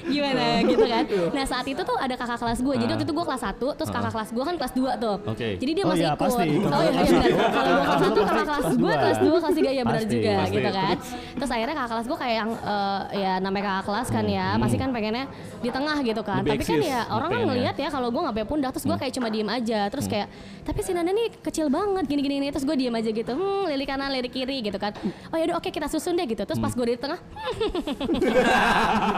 Speaker 5: gimana gitu kan nah saat itu tuh ada kakak kelas gue jadi waktu itu gue kelas 1 terus kakak kelas gue kan kelas 2 tuh
Speaker 1: Oke.
Speaker 5: jadi dia
Speaker 2: Oh
Speaker 5: masih
Speaker 2: iya,
Speaker 5: ikut
Speaker 2: pasti.
Speaker 5: oh iya, iya benar kalau gue kelas 1 kakak kelas
Speaker 2: Kelas
Speaker 5: gue
Speaker 2: dua.
Speaker 5: kelas 2 kelas 3 ya benar
Speaker 2: Pasti,
Speaker 5: juga
Speaker 1: pasti.
Speaker 5: gitu kan terus akhirnya kakak kelas gue kayak yang eh, ya namanya kakak kelas kan ya
Speaker 1: Hmm.
Speaker 5: pasti kan pengennya di tengah gitu kan
Speaker 1: Lebih
Speaker 5: tapi kan
Speaker 1: eksis
Speaker 5: ya orang kan
Speaker 1: pengennya. Hmm.
Speaker 5: ngelihat ya kalau gue nggak punya pundak terus gue kayak cuma diem aja terus kayak tapi si Nanda nih kecil banget gini gini, gini. terus gue diem aja gitu hmm, lirik kanan lirik kiri gitu kan oh yaudah oke kita susun deh gitu terus
Speaker 1: Hmm.
Speaker 5: pas gue di tengah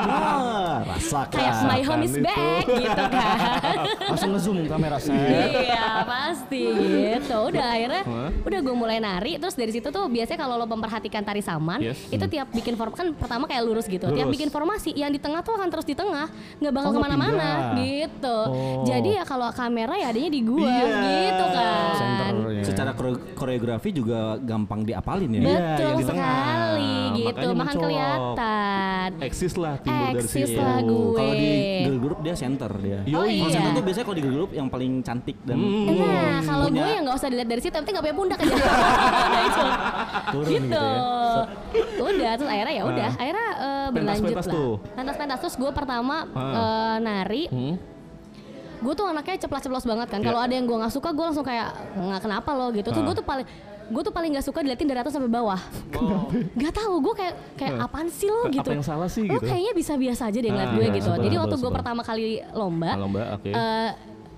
Speaker 3: Ah, rasakan.
Speaker 5: kayak my home is
Speaker 1: itu.
Speaker 5: back gitu kan
Speaker 2: Langsung ngezoom kamera saya.
Speaker 5: iya pasti gitu udah akhirnya udah gue mulai nari terus dari situ tuh biasanya kalau lo memperhatikan tari saman
Speaker 1: Yes. Hmm.
Speaker 5: itu tiap bikin form kan pertama kayak lurus gitu tiap
Speaker 1: Lurus.
Speaker 5: bikin formasi yang di tengah tuh akan terus di tengah nggak bakal
Speaker 2: Oh, nggak
Speaker 5: kemana-mana
Speaker 2: pindah.
Speaker 5: gitu
Speaker 1: Oh.
Speaker 5: jadi ya kalau kamera ya adanya di gua
Speaker 3: Iya.
Speaker 5: gitu kan
Speaker 1: Centernya.
Speaker 3: Secara kore- koreografi juga gampang diapalin ya.
Speaker 5: betul
Speaker 1: Iya, yang di tengah.
Speaker 5: sekali gitu
Speaker 1: Makanya
Speaker 5: makan
Speaker 1: mencolok.
Speaker 5: kelihatan
Speaker 1: eksis lah timbul dari
Speaker 5: Eksis
Speaker 1: situ.
Speaker 5: lah gue.
Speaker 3: Gitu. Kalau di girl group dia center dia.
Speaker 5: Oh
Speaker 1: Yoi.
Speaker 5: iya.
Speaker 3: Kalau center tuh biasanya kalau di girl group yang paling cantik dan
Speaker 1: Hmm. Iya,
Speaker 5: Nah, kalau
Speaker 3: punya-
Speaker 5: gue yang nggak usah dilihat dari situ, tapi nggak punya pundak aja. Udah itu.
Speaker 2: Turun
Speaker 5: gitu.
Speaker 2: gitu ya.
Speaker 5: Udah, terus akhirnya ya udah, akhirnya eh, berlanjut
Speaker 1: Ah. pentas tuh. Ah.
Speaker 5: lah. Pentas-pentas terus gue pertama eh, nari.
Speaker 1: Hmm.
Speaker 5: Gue tuh anaknya ceplas-ceplos banget kan.
Speaker 1: Ya.
Speaker 5: Kalau ada yang gue nggak suka, gue langsung kayak nggak kenapa lo gitu. Terus gue
Speaker 1: Ah.
Speaker 5: tuh paling gue tuh paling nggak suka diliatin dari atas sampai bawah. Gak tahu gue kayak kayak apaan sih
Speaker 1: Ah.
Speaker 5: lo
Speaker 1: Apa
Speaker 5: gitu.
Speaker 1: yang salah sih
Speaker 5: Lo
Speaker 1: gitu?
Speaker 5: kayaknya bisa biasa aja deh ngeliat
Speaker 1: Ah,
Speaker 5: gue
Speaker 1: iya,
Speaker 5: gitu.
Speaker 1: sebel,
Speaker 5: Jadi
Speaker 1: sebel,
Speaker 5: waktu gue
Speaker 1: sebel.
Speaker 5: pertama kali lomba,
Speaker 1: Kalau mbak, oke.
Speaker 5: eh,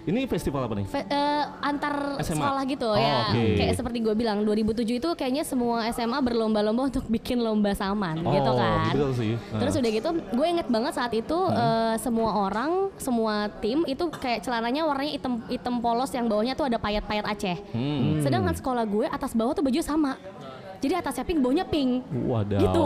Speaker 1: Ini festival apa nih?
Speaker 5: Fe- eh, antar
Speaker 1: SMA.
Speaker 5: sekolah gitu
Speaker 1: Oh,
Speaker 5: ya
Speaker 1: oke.
Speaker 5: kayak seperti gue bilang 2007 itu kayaknya semua SMA berlomba-lomba untuk bikin lomba saman gitu
Speaker 1: Oh,
Speaker 5: kan
Speaker 1: betul sih. Ah.
Speaker 5: terus udah gitu gue inget banget saat itu
Speaker 1: Hmm.
Speaker 5: eh, semua orang semua tim itu kayak celananya warnanya hitam hitam polos yang bawahnya tuh ada payet-payet Aceh
Speaker 1: Hmm.
Speaker 5: sedangkan sekolah gue atas bawah tuh baju sama jadi atasnya pink bawahnya pink
Speaker 1: Wadaw,
Speaker 5: gitu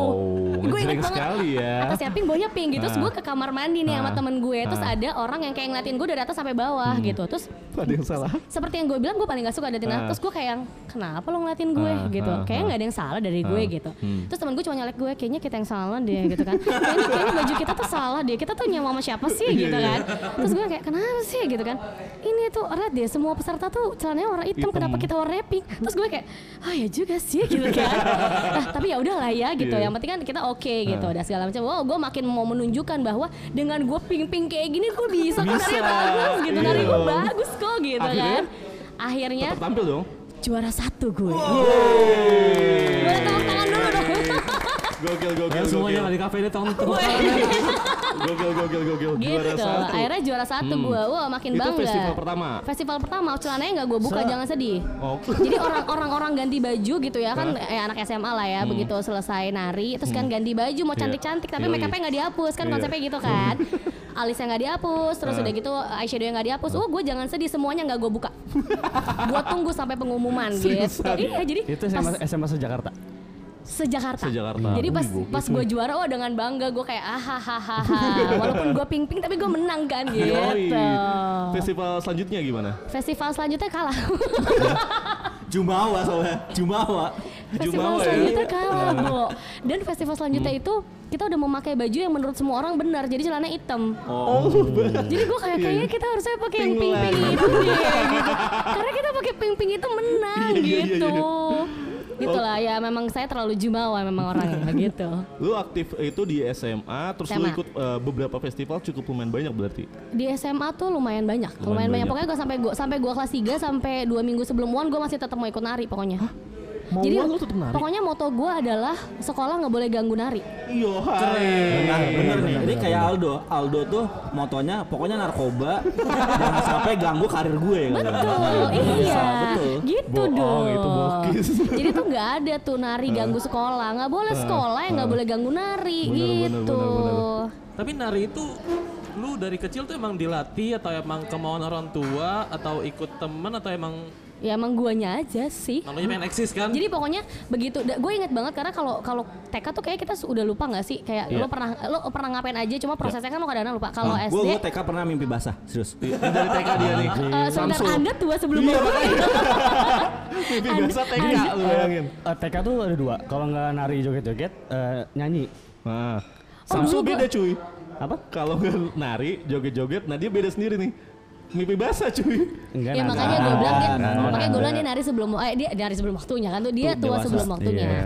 Speaker 5: gue
Speaker 1: ngejreng
Speaker 5: inget banget
Speaker 1: sekali ya.
Speaker 5: atasnya pink bawahnya pink gitu
Speaker 1: Nah.
Speaker 5: terus gue ke kamar mandi nih sama
Speaker 1: Ah.
Speaker 5: temen gue terus ada orang yang kayak ngeliatin gue dari atas sampai bawah
Speaker 1: Hmm.
Speaker 5: gitu terus
Speaker 1: Ada yang salah.
Speaker 5: seperti yang gue bilang gue paling gak suka ngeliatin
Speaker 1: Ah.
Speaker 5: terus gue kayak yang, kenapa lo ngeliatin gue
Speaker 1: Ah,
Speaker 5: gitu
Speaker 1: ah,
Speaker 5: kayaknya
Speaker 1: ah.
Speaker 5: nggak ada yang salah dari gue
Speaker 1: Ah,
Speaker 5: gitu
Speaker 1: hmm.
Speaker 5: terus temen gue cuma nyalek gue kayaknya kita yang salah deh gitu kan kayaknya, kayaknya baju kita tuh salah deh kita tuh nyawa sama siapa sih
Speaker 1: Iya,
Speaker 5: gitu kan terus gue kayak kenapa sih gitu kan ini tuh red deh semua peserta tuh celananya warna hitam,
Speaker 1: Hitam.
Speaker 5: kenapa kita warna pink terus gue kayak oh ya juga sih gitu kan nah, tapi ya udahlah ya gitu
Speaker 1: Iya. Ah.
Speaker 5: yang penting kan kita oke gitu dan segala macam wow gue makin mau menunjukkan bahwa dengan gue pink pink kayak gini gue bisa kok
Speaker 1: Bisa.
Speaker 5: nari bagus gitu
Speaker 1: Iya
Speaker 5: nari gue
Speaker 1: dong.
Speaker 5: bagus kok gitu
Speaker 1: Akhirnya?
Speaker 5: kan akhirnya
Speaker 1: ya. Tetap tampil dong.
Speaker 5: juara satu gue boleh tepuk tangan dulu dong
Speaker 1: Gokil, gokil,
Speaker 2: Dan semuanya
Speaker 1: gokil.
Speaker 2: nggak di kafe ini tolong tepuk
Speaker 5: Weh.
Speaker 2: tangan.
Speaker 1: Gokil, gokil, gokil. Juara
Speaker 5: gitu
Speaker 1: satu. Hmm.
Speaker 5: akhirnya ya? juara satu gue wah makin
Speaker 1: Itu
Speaker 5: bangga
Speaker 1: festival pertama?
Speaker 5: festival pertama celananya nggak gue buka
Speaker 2: Se-
Speaker 5: jangan sedih
Speaker 1: Oh.
Speaker 5: Jadi orang- orang-orang ganti baju gitu ya kan eh, anak SMA lah ya
Speaker 1: Hmm.
Speaker 5: begitu selesai nari terus kan ganti baju mau cantik-cantik tapi
Speaker 1: Iya. Yoi.
Speaker 5: make upnya nggak dihapus
Speaker 1: Iya.
Speaker 5: kan
Speaker 1: Nah.
Speaker 5: konsepnya gitu kan alisnya nggak dihapus terus udah gitu eyeshadow nggak dihapus oh gue jangan sedih semuanya nggak gue buka gue tunggu sampai pengumuman gitu iya jadi
Speaker 2: Itu
Speaker 5: pas
Speaker 2: SMA, SMA sejakarta.
Speaker 5: sejakarta
Speaker 1: Se-Jakarta.
Speaker 5: jadi pas
Speaker 1: Wih,
Speaker 5: pas gue juara oh dengan bangga gue kayak ah ha, ha, ha, ha." walaupun gue ping ping tapi gue menang kan gitu
Speaker 1: Yoi. Festival selanjutnya gimana?
Speaker 5: festival selanjutnya kalah
Speaker 3: Jumawa soalnya. Jumawa.
Speaker 5: Festival
Speaker 1: Jumawa ya?
Speaker 5: selanjutnya kalah bro. Dan festival selanjutnya itu kita udah memakai baju yang menurut semua orang benar. Jadi celana hitam.
Speaker 1: Oh,
Speaker 5: Jadi gue
Speaker 1: Iya.
Speaker 5: kayak kayaknya kita harusnya pakai yang pink pink itu deh, gitu. Karena kita pakai pink pink itu menang
Speaker 1: Iya, iya, iya,
Speaker 5: gitu.
Speaker 1: iya.
Speaker 5: Gitu lah ya memang saya terlalu jumawa memang orangnya gitu.
Speaker 1: lu aktif itu di SMA, terus lu
Speaker 5: SMA.
Speaker 1: ikut eh, beberapa festival cukup lumayan banyak berarti.
Speaker 5: Di SMA tuh lumayan banyak, lumayan, banyak.
Speaker 1: banyak.
Speaker 5: Pokoknya gue sampai gua sampai gua kelas 3 sampai dua minggu sebelum UAN gue masih tetap mau ikut nari pokoknya.
Speaker 1: Mau
Speaker 5: Jadi
Speaker 1: lu tetap nari.
Speaker 5: pokoknya moto gue adalah sekolah nggak boleh ganggu nari.
Speaker 1: Iya, keren.
Speaker 3: Nah, bener nih. Jadi kayak Aldo, Aldo tuh motonya pokoknya narkoba jangan sampai ganggu karir gue. gitu. Nah,
Speaker 5: Betul, iya.
Speaker 3: betul.
Speaker 5: Gitu
Speaker 1: Bohong,
Speaker 5: dong.
Speaker 1: itu bokis.
Speaker 5: Jadi tuh nggak ada tuh nari ganggu sekolah, nggak boleh sekolah yang nggak boleh ganggu nari
Speaker 1: Bener, bener,
Speaker 5: gitu.
Speaker 1: bener,
Speaker 4: Tapi nari itu lu dari kecil tuh emang dilatih atau emang kemauan orang tua atau ikut temen atau emang
Speaker 5: Ya emang guanya aja sih.
Speaker 4: namanya pengen eksis kan?
Speaker 5: Jadi pokoknya begitu, gue inget banget karena kalau kalau TK tuh kayak kita udah lupa nggak sih kayak
Speaker 3: Iya.
Speaker 5: lo pernah lo pernah ngapain aja, cuma prosesnya kan lo kadang-kadang lupa. Kalau SD,
Speaker 3: Gue gue TK pernah mimpi basah, serius.
Speaker 5: Iya.
Speaker 1: Dari TK dia nih.
Speaker 5: eh, sebentar anda tua sebelum
Speaker 3: Iya.
Speaker 5: gue.
Speaker 1: Mimpi
Speaker 5: Anda-
Speaker 1: biasa TK
Speaker 5: Anda-
Speaker 1: lu bayangin.
Speaker 2: Eh, TK tuh ada dua. Kalau nggak nari joget-joget, eh, nyanyi.
Speaker 1: Nah,
Speaker 5: Oh,
Speaker 1: Samsul
Speaker 5: dulu gua-
Speaker 1: beda cuy.
Speaker 2: Apa?
Speaker 1: Kalau nggak nari, joget-joget, nah dia beda sendiri nih. Mimpi basah cuy.
Speaker 2: Enggak
Speaker 5: Ya
Speaker 2: nari.
Speaker 5: makanya gue bilang dia,
Speaker 3: Iya, nah, nah,
Speaker 5: makanya gue
Speaker 3: nah.
Speaker 5: bilang dia nari sebelum eh dia nari sebelum waktunya kan tuh dia
Speaker 3: Tuh,
Speaker 5: tua
Speaker 3: dewasa.
Speaker 5: sebelum waktunya.
Speaker 2: Iya.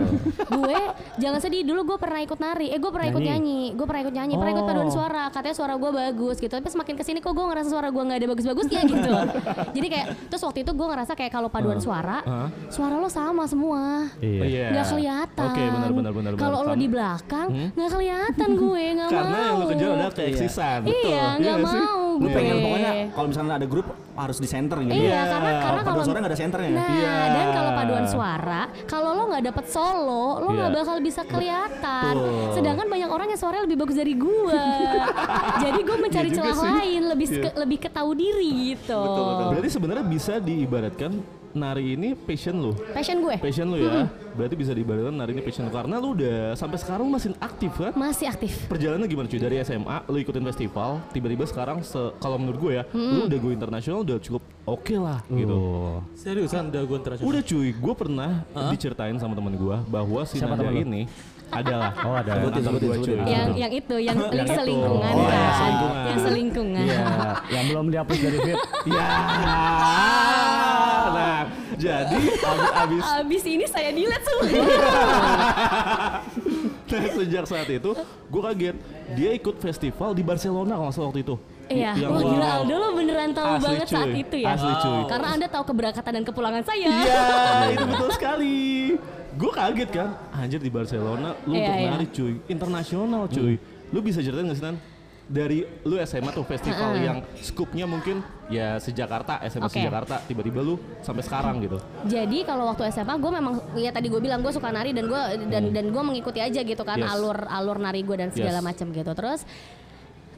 Speaker 5: gue jangan sedih dulu gue pernah ikut nari, eh gue pernah ikut
Speaker 2: Nyanyi.
Speaker 5: nyanyi, gue pernah ikut nyanyi, pernah ikut
Speaker 2: Oh.
Speaker 5: paduan suara, katanya suara gue bagus gitu. Tapi semakin kesini kok gue ngerasa suara gue nggak ada bagus-bagusnya gitu. Jadi kayak terus waktu itu gue ngerasa kayak kalau
Speaker 3: Ah.
Speaker 5: paduan suara, suara lo sama semua.
Speaker 1: Oh,
Speaker 2: Iya.
Speaker 5: Nggak kelihatan.
Speaker 1: Oke, benar benar benar. benar.
Speaker 5: Kalau lo
Speaker 1: Sama.
Speaker 5: di belakang nggak kelihatan gue nggak mau.
Speaker 1: karena yang lo kejar adalah keeksisan.
Speaker 5: Iya, nggak
Speaker 1: nggak sih?
Speaker 5: mau
Speaker 3: Lu
Speaker 5: gue.
Speaker 3: pengen pokoknya kalau misalnya ada grup harus di center gitu.
Speaker 5: Iya, karena karena
Speaker 3: Kalau
Speaker 5: kalau
Speaker 3: suara nggak ada senternya.
Speaker 5: Nah,
Speaker 1: Iya.
Speaker 5: dan kalau paduan suara, kalau lo nggak dapet solo, lo nggak
Speaker 1: Iya.
Speaker 5: bakal bisa kelihatan. Sedangkan banyak orang yang suaranya lebih bagus dari gua. Jadi gua mencari
Speaker 1: Iya juga
Speaker 5: celah
Speaker 1: sih.
Speaker 5: lain, lebih
Speaker 1: Iya.
Speaker 5: ke- lebih ketahu diri gitu.
Speaker 1: Berarti sebenarnya bisa diibaratkan nari ini passion lo.
Speaker 5: Passion gue
Speaker 1: Passion lo ya.
Speaker 5: Hmm.
Speaker 1: Berarti bisa diibaratkan nari ini passion lo karena lo udah sampai sekarang masih aktif kan?
Speaker 5: masih aktif.
Speaker 1: Perjalanannya gimana cuy dari SMA lo ikutin festival, tiba-tiba sekarang se- kalau menurut gue ya, lo
Speaker 5: Hmm.
Speaker 1: udah go internasional udah cukup oke lah
Speaker 2: Oh.
Speaker 1: gitu.
Speaker 4: Seriusan udah gue internasional.
Speaker 1: Udah cuy, gue pernah diceritain sama teman gue bahwa si
Speaker 2: Siapa
Speaker 1: Nadia
Speaker 2: temen lu?
Speaker 1: ini adalah
Speaker 2: Oh, ada.
Speaker 1: antar
Speaker 3: Sebutin,
Speaker 1: gua,
Speaker 3: sebutin,
Speaker 1: cuy.
Speaker 3: sebutin.
Speaker 5: Yang yang itu, yang
Speaker 1: Yang itu.
Speaker 5: selingkungan
Speaker 1: Oh,
Speaker 5: kan.
Speaker 1: yang selingkungan.
Speaker 5: Yang selingkungan.
Speaker 2: Iya, yang belum dihapus dari
Speaker 5: Iya.
Speaker 2: feed.
Speaker 1: Ya. Nah, jadi abis, abis
Speaker 5: Abis ini saya delete semua.
Speaker 1: nah, sejak saat itu gue kaget dia ikut festival di Barcelona kalau nggak salah waktu itu.
Speaker 5: Iya,
Speaker 1: Yang
Speaker 5: wah gila
Speaker 1: wow.
Speaker 5: Aldo lo beneran tahu
Speaker 1: Ya Asli,
Speaker 5: banget saat
Speaker 1: cuy.
Speaker 5: itu ya.
Speaker 1: Asli, cuy.
Speaker 5: Karena Anda tahu keberangkatan dan kepulangan saya.
Speaker 1: Iya, itu betul sekali. Gue kaget kan, anjir di Barcelona lu
Speaker 5: Iya,
Speaker 1: untuk
Speaker 5: iya.
Speaker 1: nari cuy, internasional cuy. Lu bisa ceritain nggak sih Nan? Dari lu SMA tuh festival
Speaker 5: Heeh.
Speaker 1: yang skupnya mungkin ya sejakarta, SMA
Speaker 5: Oke.
Speaker 1: sejakarta, tiba-tiba lu sampai sekarang gitu.
Speaker 5: Jadi kalau waktu SMA gue memang ya tadi gue bilang gue suka nari dan gue dan dan gue mengikuti aja gitu kan
Speaker 1: Hmm. Yes.
Speaker 5: alur alur nari gue dan
Speaker 1: Yes.
Speaker 5: segala macam gitu. Terus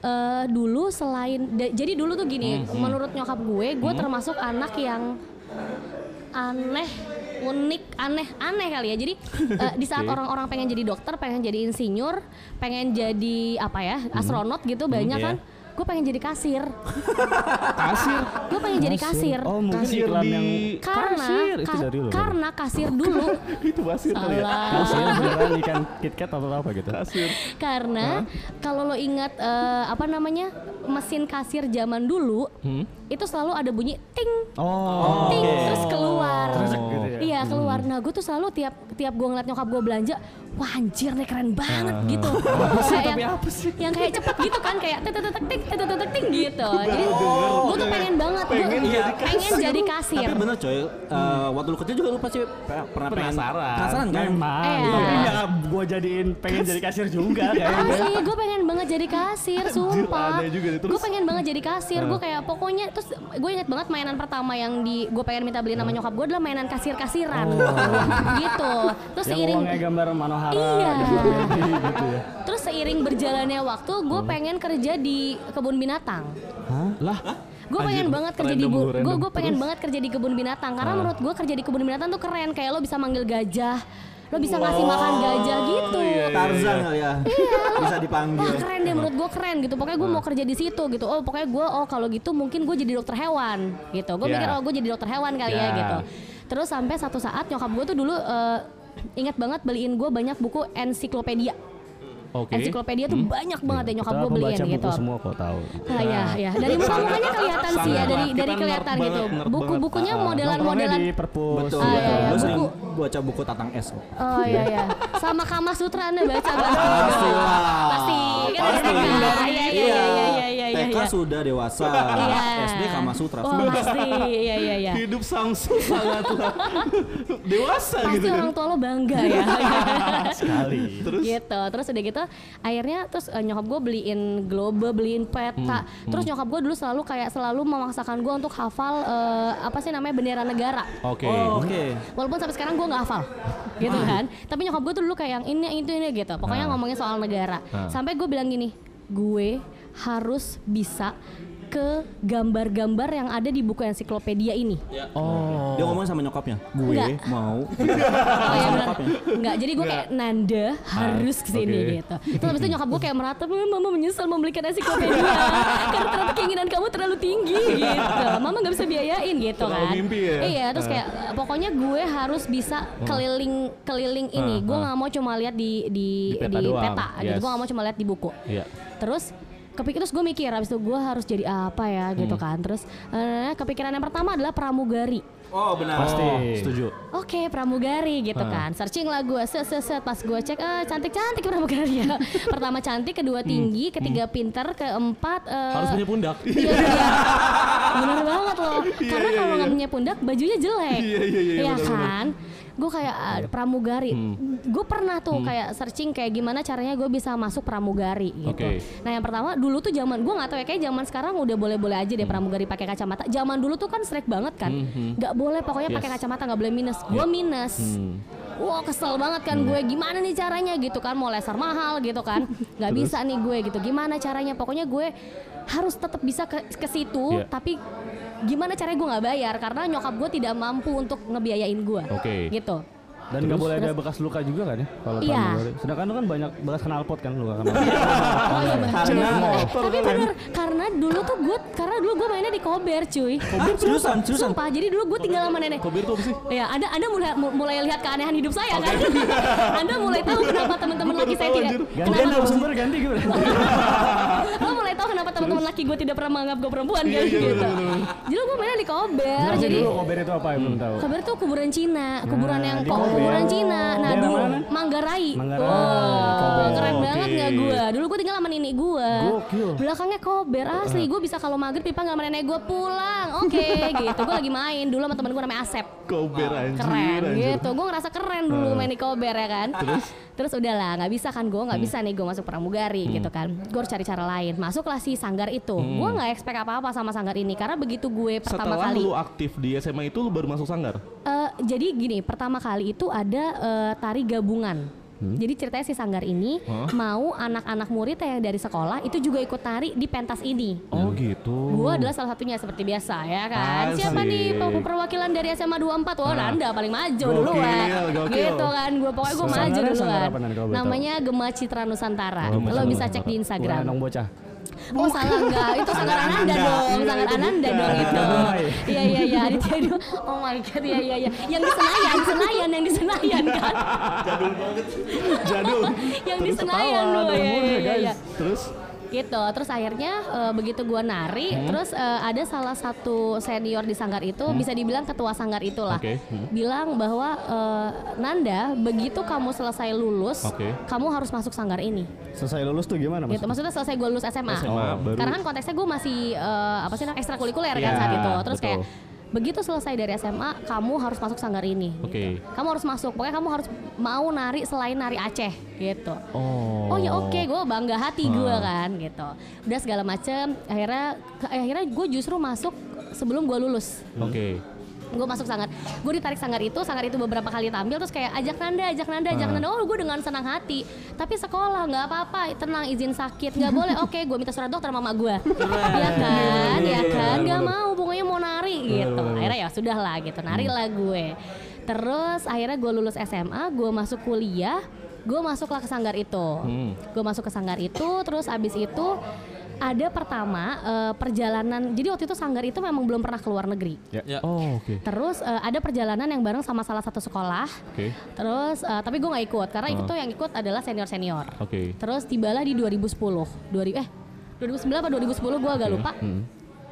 Speaker 5: eh dulu selain da- jadi dulu tuh
Speaker 1: Hmm,
Speaker 5: gini, menurut nyokap gue, gue termasuk anak yang aneh, unik, aneh, aneh kali ya. Jadi eh, di saat
Speaker 1: Oke.
Speaker 5: orang-orang pengen jadi dokter, pengen jadi insinyur, pengen jadi apa ya astronot gitu
Speaker 1: Hmm.
Speaker 5: banyak
Speaker 1: iya.
Speaker 5: kan. Gue pengen jadi kasir.
Speaker 1: Kasir,
Speaker 5: Gue pengen jadi kasir.
Speaker 2: Oh, mungkin
Speaker 1: kasir
Speaker 2: iklan
Speaker 1: di
Speaker 2: yang
Speaker 5: Karena
Speaker 2: Kasir, itu
Speaker 5: ka-
Speaker 2: dari lu.
Speaker 5: karena kasir dulu
Speaker 1: itu basir kali ya.
Speaker 5: Salah.
Speaker 2: Kasir beneran ikan KitKat atau apa gitu.
Speaker 1: Kasir.
Speaker 5: Karena kalau lo ingat eh, apa namanya mesin kasir zaman dulu itu selalu ada bunyi ting
Speaker 2: Oh,
Speaker 5: ting terus keluar.
Speaker 1: Oh.
Speaker 2: gitu ya.
Speaker 5: Iya keluar. Nah gue tuh selalu tiap tiap gue ngeliat nyokap gue belanja, wah anjir nih keren banget gitu. Kayak yang, yang kayak cepet gitu kan kayak tek tek tek tek tek tek ting gitu. Jadi gue tuh pengen banget gue
Speaker 1: Pengen jadi
Speaker 5: pengen
Speaker 1: kasir.
Speaker 5: jadi kasir.
Speaker 3: Tapi bener coy, eh, waktu lu kecil juga lu pasti pe- pernah pengen
Speaker 1: Penasaran.
Speaker 3: Penasaran kan?
Speaker 2: Memang,
Speaker 5: Eh.
Speaker 2: tapi ya gue jadiin pengen jadi kasir juga kayaknya.
Speaker 5: Asli, gue pengen banget jadi kasir, sumpah.
Speaker 1: aneh Iya, juga Nah. deh. Terus?
Speaker 5: Gue pengen banget jadi kasir, gue kayak pokoknya terus gue inget banget mainan pertama yang di gue pengen minta beliin
Speaker 1: Nah.
Speaker 5: sama nyokap gue adalah mainan kasir-kasiran,
Speaker 1: Oh.
Speaker 5: gitu. Terus
Speaker 2: Yang
Speaker 5: seiring
Speaker 1: gitu.
Speaker 2: uangnya gambar Manohara,
Speaker 5: Iya.
Speaker 2: gambar Barbie gitu ya.
Speaker 5: terus seiring berjalannya waktu, gue
Speaker 1: Hmm.
Speaker 5: pengen kerja di kebun binatang.
Speaker 1: Lah,
Speaker 5: Gue pengen
Speaker 1: Anjir,
Speaker 5: banget kerja
Speaker 1: random
Speaker 5: di
Speaker 1: Nah.
Speaker 5: bu,
Speaker 1: lu,
Speaker 5: gue
Speaker 1: random.
Speaker 5: gue pengen banget kerja di kebun binatang karena menurut gue kerja di kebun binatang tuh keren kayak lo bisa manggil gajah, lo bisa
Speaker 1: Oh.
Speaker 5: ngasih makan gajah gitu.
Speaker 1: Iya,
Speaker 3: Tarzan kali ya.
Speaker 5: Iya.
Speaker 3: Bisa dipanggil.
Speaker 5: Wah keren deh menurut gue keren gitu Pokoknya gue mau kerja di situ gitu Oh pokoknya gue oh kalau gitu mungkin gue jadi dokter hewan gitu Gue
Speaker 1: Ya.
Speaker 5: mikir oh gue jadi dokter hewan kali
Speaker 1: Ya.
Speaker 5: ya gitu Terus sampai satu saat nyokap gue tuh dulu eh, ingat banget beliin gue banyak buku ensiklopedia.
Speaker 1: Oke.
Speaker 5: Ensiklopedia tuh banyak banget ya nyokap
Speaker 2: Kita
Speaker 5: gue beliin
Speaker 2: pembaca buku
Speaker 5: gitu.
Speaker 2: semua kok tahu.
Speaker 5: Ah, ya, ya. Dari muka-mukanya kelihatan sih ya, dari dari kelihatan gitu. Buku-bukunya
Speaker 2: Nongkrongnya
Speaker 5: modelan-modelan
Speaker 2: di perpus.
Speaker 3: Betul. betul.
Speaker 5: Ah, iya, iya.
Speaker 3: Gua sering
Speaker 5: Buku-
Speaker 3: baca buku Tatang S kok.
Speaker 5: Oh iya iya. Sama Kama Sutra Anda baca banget.
Speaker 3: Pasti lah.
Speaker 5: Pasti. Kan dari TK. Iya iya iya iya iya iya.
Speaker 3: TK
Speaker 5: iya.
Speaker 3: sudah dewasa.
Speaker 5: Iya.
Speaker 3: SD Kama Sutra.
Speaker 5: Wah,
Speaker 3: sudah.
Speaker 5: pasti. Iya iya iya.
Speaker 1: Hidup Samsung sangatlah dewasa
Speaker 5: Pasti
Speaker 1: gitu. kan.
Speaker 5: orang tua lo bangga ya.
Speaker 2: Sekali.
Speaker 1: Terus
Speaker 5: gitu terus udah gitu akhirnya terus eh, nyokap gue beliin globe beliin peta terus nyokap gue dulu selalu kayak selalu memaksakan gue untuk hafal eh, apa sih namanya bendera negara
Speaker 1: Oke.
Speaker 3: Oh, Oke.
Speaker 5: walaupun sampai sekarang gue nggak hafal gitu kan tapi nyokap gue tuh dulu kayak yang ini itu ini gitu pokoknya ngomongin soal negara sampai gue bilang gini gue harus bisa ke gambar-gambar yang ada di buku ensiklopedia ini
Speaker 1: Oh.
Speaker 3: Dia ngomong sama nyokapnya. Gue
Speaker 5: Enggak.
Speaker 3: mau.
Speaker 5: Oh iya benar. Enggak, jadi gue kayak Nanda harus kesini
Speaker 1: Ah, Oke.
Speaker 5: gitu. Terus habis itu nyokap gue kayak merata, "Mama, mama menyesal membelikan ensiklopedia karena ternyata keinginan kamu terlalu tinggi gitu. Mama nggak bisa biayain gitu
Speaker 1: Terlalu
Speaker 5: kan.
Speaker 1: mimpi ya? Hmm.
Speaker 5: Iya, terus kayak pokoknya gue harus bisa keliling keliling ini. Gue nggak mau cuma lihat di di
Speaker 1: Ah, Di peta doang,
Speaker 5: gitu.
Speaker 1: yes.
Speaker 5: Gue nggak mau cuma lihat di buku.
Speaker 1: Iya.
Speaker 5: Terus kepikir terus gue mikir habis itu gue harus jadi apa ya gitu
Speaker 1: Hmm.
Speaker 5: kan. Terus eh, kepikiran yang pertama adalah pramugari.
Speaker 3: Oh benar.
Speaker 2: Pasti.
Speaker 1: Setuju.
Speaker 5: Oke pramugari gitu
Speaker 1: Ah.
Speaker 5: kan Searching lah gue set set set Pas gue cek ah cantik-cantik pramugari ya Pertama cantik Kedua
Speaker 1: Hmm.
Speaker 5: tinggi Ketiga pinter Keempat eh,
Speaker 4: Harus punya pundak.
Speaker 5: Iya iya Bener banget loh Karena kalau nggak punya pundak Bajunya jelek
Speaker 1: Iya, iya, iya,
Speaker 5: Iya
Speaker 1: benar,
Speaker 5: kan Gue kayak ah, pramugari
Speaker 1: Hmm.
Speaker 5: Gue pernah tuh kayak searching Kayak gimana caranya gue bisa masuk pramugari gitu
Speaker 1: Oke.
Speaker 5: Nah yang pertama dulu tuh zaman Gue nggak tahu ya Kayak zaman sekarang udah boleh-boleh aja
Speaker 1: Hmm.
Speaker 5: deh Pramugari pakai kacamata Zaman dulu tuh kan strike banget kan Nggak boleh pokoknya pakai
Speaker 1: Yes. Hmm.
Speaker 5: kacamata nggak boleh minus Gue minus Wah kesel banget kan gue gimana nih caranya gitu kan mau laser mahal gitu kan nggak bisa nih gue gitu gimana caranya pokoknya gue harus tetap bisa ke, ke situ
Speaker 1: Iya.
Speaker 5: tapi gimana caranya gue nggak bayar karena nyokap gue tidak mampu untuk ngebiayain gue
Speaker 1: Oke.
Speaker 5: gitu
Speaker 2: Dan nggak boleh ada bekas luka juga kan ya kalau
Speaker 5: Iya.
Speaker 2: pramugari. Sedangkan itu kan banyak bekas knalpot kan luka kan.
Speaker 5: Oh iya bener.
Speaker 3: Karena
Speaker 5: Eh, tapi bener karena dulu tuh gue karena dulu gue mainnya di kober cuy.
Speaker 3: Ah, seriusan, seriusan.
Speaker 5: Sumpah jadi dulu gue tinggal sama nenek.
Speaker 1: Kober tuh apa sih?
Speaker 5: Ya, Anda Anda mulai mu- mulai lihat keanehan hidup saya kan. anda mulai tahu kenapa teman-teman laki saya tidak
Speaker 2: Gantian narasumber ganti gue.
Speaker 5: lo mulai tahu kenapa teman-teman laki gue tidak pernah menganggap gue perempuan
Speaker 2: Iya,
Speaker 5: kan gitu. Jadi gue mainnya di kober.
Speaker 2: Jadi
Speaker 5: Jadi
Speaker 2: dulu kober itu apa yang belum tahu?
Speaker 5: kober tuh kuburan Cina, kuburan yang
Speaker 2: di
Speaker 5: kok
Speaker 2: Kober.
Speaker 5: kuburan Cina. Nah
Speaker 2: Daerah
Speaker 5: dulu
Speaker 2: mana?
Speaker 5: Manggarai.
Speaker 2: Manggarai,
Speaker 5: Wow,
Speaker 2: Kober.
Speaker 5: keren
Speaker 1: Oke.
Speaker 5: banget nggak gue? Dulu gue tinggal sama nenek gue.
Speaker 2: Gokil. Nah.
Speaker 5: Belakangnya kober asli. Gue bisa kalau maghrib dipanggil sama nenek gue pulang. Oke gitu. Gue lagi main dulu sama temen gue namanya Asep
Speaker 1: Kober anjir.
Speaker 5: keren
Speaker 1: anjir. Nah.
Speaker 5: gitu gue ngerasa keren dulu main di kober ya kan terus terus udahlah nggak bisa kan gue
Speaker 1: Hmm.
Speaker 5: nggak bisa nih gue masuk pramugari gitu kan gue harus cari cara lain masuklah si sanggar itu
Speaker 1: Hmm.
Speaker 5: gue nggak expect apa apa sama sanggar ini karena begitu gue pertama
Speaker 1: Setelah
Speaker 5: kali
Speaker 1: lu aktif di SMA itu lu baru masuk sanggar.
Speaker 5: Eh, jadi gini, pertama kali itu ada eh, tari gabungan.
Speaker 1: Hmm?
Speaker 5: Jadi ceritanya si Sanggar ini mau anak-anak murid yang dari sekolah itu juga ikut tari di pentas ini.
Speaker 1: Oh
Speaker 5: Iya.
Speaker 1: gitu.
Speaker 5: Gua adalah salah satunya seperti biasa ya kan.
Speaker 1: Asik.
Speaker 5: Siapa nih pe- perwakilan dari SMA 24? Wah, Nanda paling maju duluan.
Speaker 1: Ah. gokil.
Speaker 5: Gitu kan. Gua pokoknya gua maju
Speaker 2: Sanggarnya
Speaker 5: duluan.
Speaker 2: sanggar apa, Nan, kalau boleh
Speaker 5: Namanya Gema Citra Nusantara.
Speaker 1: Oh, Gema
Speaker 5: Lo
Speaker 1: Citra
Speaker 5: bisa cek di
Speaker 2: Bukan
Speaker 5: Instagram.
Speaker 2: anak bocah.
Speaker 5: Oh salah enggak, itu sangat ananda
Speaker 1: Iya,
Speaker 5: dong, sangat ananda dong itu. Iya iya iya, Aditya Edo. Oh my god, iya iya iya. Yang di Senayan, Senayan yang di Senayan kan.
Speaker 1: Jadul.
Speaker 5: yang di
Speaker 1: Terus
Speaker 5: Senayan
Speaker 1: ketawa,
Speaker 5: loh.
Speaker 1: ada
Speaker 5: Iya
Speaker 1: umurnya,
Speaker 5: iya iya.
Speaker 1: guys.
Speaker 5: iya.
Speaker 1: Terus
Speaker 5: Gitu, terus akhirnya eh, begitu gua nari,
Speaker 1: Hmm.
Speaker 5: terus eh, ada salah satu senior di sanggar itu, bisa dibilang ketua sanggar itulah,
Speaker 1: Oke, hmm.
Speaker 5: bilang bahwa eh, Nanda, begitu kamu selesai lulus,
Speaker 1: Oke.
Speaker 5: kamu harus masuk sanggar ini.
Speaker 2: Selesai lulus tuh gimana mas?
Speaker 5: Gitu, maksudnya selesai gue lulus SMA.
Speaker 1: SMA, baru-
Speaker 5: Karena kan konteksnya gue masih eh, apa sih namanya ekstrakurikuler kan
Speaker 1: Iya,
Speaker 5: saat itu. Terus
Speaker 1: betul.
Speaker 5: kayak begitu selesai dari SMA, kamu harus masuk sanggar ini. gitu.
Speaker 1: Oke.
Speaker 5: Kamu harus masuk. Pokoknya kamu harus mau nari selain nari Aceh gitu.
Speaker 1: oh.
Speaker 5: Oh ya oke, gue bangga hati gue kan gitu. Udah segala macem. Akhirnya ke- akhirnya gue justru masuk sebelum gue lulus.
Speaker 1: Oke.
Speaker 5: Gue masuk sanggar, gue ditarik sanggar itu, sanggar itu beberapa kali tampil terus kayak ajak Nanda, ajak Nanda, ajak Nanda. Oh gue dengan senang hati. Tapi sekolah nggak apa-apa, tenang izin sakit nggak boleh. Oke, gue minta surat dokter mama gue. Iya kan, iya kan, nggak mau pokoknya mau nari gitu. Akhirnya ya sudah lah gitu, nari lah gue. Terus akhirnya gue lulus SMA, gue masuk Hmm. kuliah, gue masuklah ke sanggar itu. Gue masuk ke sanggar itu, terus abis itu ada pertama eh, perjalanan. Jadi waktu itu Sanggar itu memang belum pernah keluar negeri.
Speaker 4: Ya.
Speaker 1: Oh, oke.
Speaker 5: Terus eh, ada perjalanan yang bareng sama salah satu sekolah.
Speaker 1: Oke.
Speaker 5: Terus eh, tapi gue nggak ikut karena itu
Speaker 1: Ah.
Speaker 5: tuh yang ikut adalah senior senior.
Speaker 1: Oke.
Speaker 5: Terus tibalah di 2010, 2000 eh 2009 apa 2010 gue agak lupa.
Speaker 1: Hmm.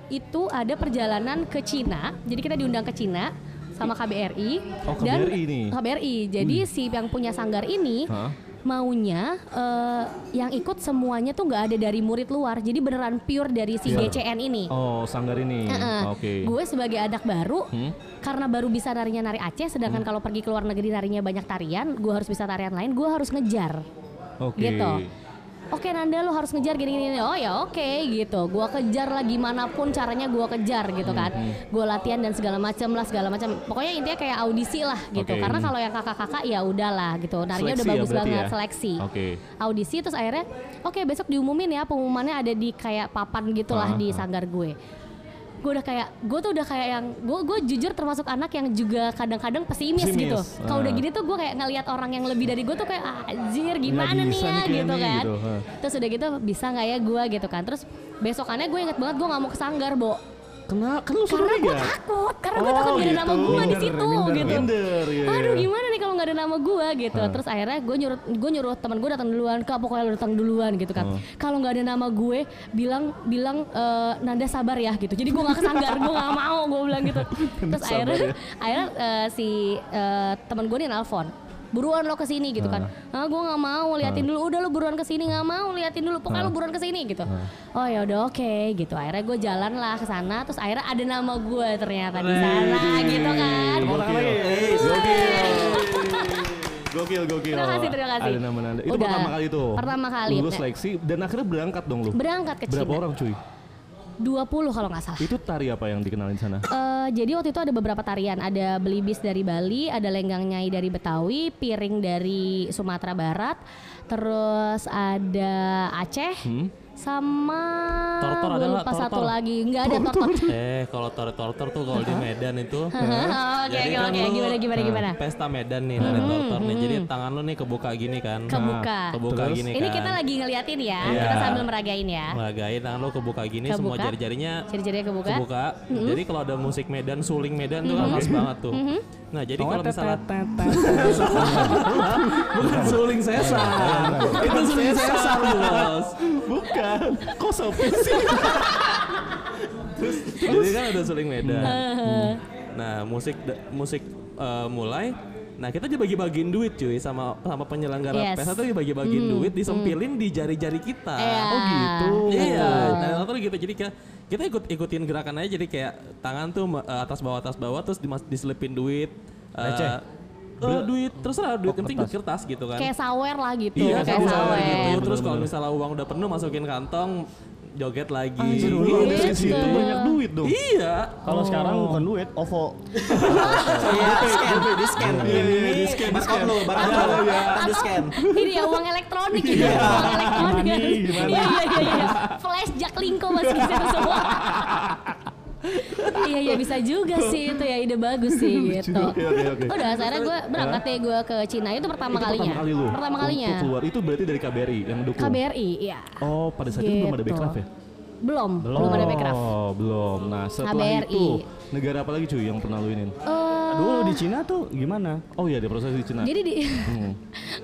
Speaker 5: Itu ada perjalanan ke Cina. Jadi kita diundang ke Cina sama KBRI
Speaker 1: Oh, KBRI nih.
Speaker 5: KBRI. Jadi si yang punya sanggar ini
Speaker 1: Hah?
Speaker 5: maunya eh, yang ikut semuanya tuh nggak ada dari murid luar. Jadi beneran pure dari si
Speaker 1: Iya.
Speaker 5: GCN ini.
Speaker 1: Oh, sanggar ini.
Speaker 5: Heeh.
Speaker 1: Hmm, Oke.
Speaker 5: Gue sebagai anak baru
Speaker 1: Hmm?
Speaker 5: karena baru bisa narinya nari Aceh, sedangkan kalau pergi ke luar negeri narinya banyak tarian, gue harus bisa tarian lain, gue harus ngejar,
Speaker 1: Oke.
Speaker 5: gitu. Oke Nanda lo harus ngejar gini-gini Oh ya oke gitu Gua kejar lah gimana pun caranya gua kejar gitu kan
Speaker 1: Hmm,
Speaker 5: Gua latihan dan segala macam lah segala macam Pokoknya intinya kayak audisi lah gitu
Speaker 1: Oke.
Speaker 5: Karena kalau yang kakak-kakak ya udahlah gitu Narinya
Speaker 1: Seleksi
Speaker 5: udah
Speaker 1: ya
Speaker 5: bagus
Speaker 1: berarti
Speaker 5: banget
Speaker 1: ya?
Speaker 5: seleksi
Speaker 1: Oke.
Speaker 5: Audisi terus akhirnya Oke besok diumumin ya pengumumannya ada di kayak papan gitulah
Speaker 1: Ah,
Speaker 5: di
Speaker 1: ah.
Speaker 5: sanggar gue gue udah kayak gue tuh udah kayak yang gue gue jujur termasuk anak yang juga kadang-kadang pesimis,
Speaker 1: Pesimis,
Speaker 5: gitu kalau
Speaker 1: ah.
Speaker 5: udah gini tuh gue kayak ngelihat orang yang lebih dari gue tuh kayak "Ah, anjir
Speaker 1: Nggak
Speaker 5: gimana nih
Speaker 1: bisa
Speaker 5: ya
Speaker 1: nih kayaknya
Speaker 5: gitu
Speaker 1: nih,
Speaker 5: kan
Speaker 1: gitu, ha.
Speaker 5: terus udah gitu bisa nggak ya gue gitu kan terus besokannya gue inget banget gue nggak mau ke sanggar bo
Speaker 1: Kena kan lu
Speaker 5: karena
Speaker 1: sendiri
Speaker 5: gue
Speaker 1: ya?
Speaker 5: takut karena gue
Speaker 1: Oh,
Speaker 5: takut gak ada nama
Speaker 1: gitu.
Speaker 5: gue di
Speaker 1: Minder,
Speaker 5: situ
Speaker 1: minder,
Speaker 5: gitu
Speaker 1: minder, iya,
Speaker 5: aduh
Speaker 1: iya.
Speaker 5: gimana nih kalau nggak ada nama gue gitu terus akhirnya gue nyuruh gue nyuruh teman gue datang duluan kak pokoknya lo datang duluan gitu kan kalau nggak ada nama gue bilang bilang eh, Nanda sabar ya gitu jadi gue nggak kesanggar gue nggak mau gue bilang gitu terus akhirnya
Speaker 1: ya.
Speaker 5: akhirnya eh, si eh, teman gue nih nelfon buruan lo kesini gitu kan ah gue nggak mau liatin dulu udah lo buruan kesini nggak mau liatin dulu pokoknya lo buruan kesini gitu oh ya udah oke gitu akhirnya gue jalan lah ke sana terus akhirnya ada nama gue ternyata di sana gitu kan
Speaker 1: Orang lagi.
Speaker 3: Eh,
Speaker 1: Gokil, gokil.
Speaker 5: Terima kasih, terima kasih.
Speaker 1: Ada nama Nanda. Itu
Speaker 5: Udah.
Speaker 1: pertama kali tuh.
Speaker 5: Pertama kali.
Speaker 1: Lulus seleksi dan akhirnya berangkat dong lu.
Speaker 5: berangkat ke
Speaker 1: Berapa
Speaker 5: Cina
Speaker 1: orang cuy?
Speaker 5: 20 kalau nggak salah
Speaker 1: Itu tari apa yang dikenalin di sana?
Speaker 5: Eh, jadi waktu itu ada beberapa tarian, ada belibis dari Bali, ada lenggang nyai dari Betawi, piring dari Sumatera Barat, terus ada Aceh, sama
Speaker 4: Tortor Hmm? ada
Speaker 5: gue
Speaker 4: nggak?
Speaker 5: lupa
Speaker 4: Tortor.
Speaker 5: satu lagi, nggak ada tortor.
Speaker 4: Eh, kalau tortor-tortor tuh kalau di Medan itu.
Speaker 5: Oke
Speaker 4: Jadi
Speaker 5: oke
Speaker 4: kan
Speaker 5: oke,
Speaker 4: lu-
Speaker 5: gimana gimana gimana?
Speaker 4: Pesta Medan nih, ada tortor nih. Jadi tangan lu nih kebuka gini kan.
Speaker 5: Mm-hmm, Kebuka.
Speaker 4: Nah, kebuka
Speaker 1: Terus?
Speaker 4: gini kan.
Speaker 5: Ini kita lagi ngeliatin ya,
Speaker 4: Iya.
Speaker 5: kita sambil meragain ya.
Speaker 4: Ngelagain tangan lu kebuka gini semua
Speaker 5: Kebuka. Mm-hmm.
Speaker 4: jari-jarinya
Speaker 5: Ciri-cirinya kebuka.
Speaker 4: kebuka. Jadi kalau ada musik Medan, suling Medan tuh kan
Speaker 5: Mm-hmm.
Speaker 4: pas banget tuh. Nah, jadi kalau misalnya bukan suling sesar. Itu suling sesar, Bos.
Speaker 1: Bukan. Kok Sophie sih?
Speaker 4: Jadi kan ada suling Medan. Nah, musik da- musik eh, mulai Nah kita juga bagi-bagiin duit cuy sama sama penyelenggara
Speaker 5: Yes. Hmm.
Speaker 4: pesta tuh dibagi-bagiin duit disempilin di jari-jari kita.
Speaker 5: Iya. Oh, gitu.
Speaker 4: Iya. Nah atau gitu jadi kayak kita ikut ikutin gerakan aja jadi kayak tangan tuh eh, atas bawah atas bawah terus dimas- diselipin duit. eh,
Speaker 2: Receh?
Speaker 4: eh, duit terus lah duit yang penting duit kertas gitu kan.
Speaker 5: Kayak sawer lah gitu,
Speaker 4: Iya,
Speaker 5: kayak
Speaker 4: kayak sawer gitu.
Speaker 5: sawer.
Speaker 4: Terus kalau misalnya uang udah penuh masukin kantong, joget lagi.
Speaker 1: Lu
Speaker 2: Iya,
Speaker 1: habis
Speaker 5: Gitu.
Speaker 1: di situ banyak duit dong.
Speaker 4: Iya.
Speaker 2: Kalau sekarang
Speaker 5: Oh.
Speaker 2: bukan duit, oh, OVO.
Speaker 3: Iya, di scan, di scan.
Speaker 1: Iya, iya,
Speaker 3: Ini
Speaker 1: di scan, di
Speaker 3: barcode
Speaker 1: scan.
Speaker 3: lu, barcode lu. Di scan.
Speaker 5: Atau ini ya uang elektronik gitu,
Speaker 4: Iya.
Speaker 5: uang elektronik.
Speaker 1: Gimana nih,
Speaker 5: Iya
Speaker 1: gimana?
Speaker 5: iya iya iya. Flash Jack Linko masih di situ semua. iya iya bisa juga sih itu ya ide bagus sih gitu.
Speaker 1: Oke, oke, Iya, oke.
Speaker 5: Udah akhirnya gue berangkat deh gue ke Cina itu pertama
Speaker 1: Itu
Speaker 5: kalinya.
Speaker 1: Pertama kali lu. Oh,
Speaker 5: Pertama kalinya.
Speaker 1: Untuk keluar itu berarti dari KBRI yang dukung.
Speaker 5: KBRI iya.
Speaker 1: Oh, pada saat itu belum ada
Speaker 5: Gitu.
Speaker 1: backcraft ya?
Speaker 5: Belum, belum ada backcraft.
Speaker 1: Oh, belum. Nah, setelah
Speaker 5: KBRI.
Speaker 1: itu negara apa lagi cuy yang pernah lu inin?
Speaker 5: Eh,
Speaker 2: Dulu di Cina tuh gimana?
Speaker 1: Oh iya, ada proses di Cina.
Speaker 5: Jadi di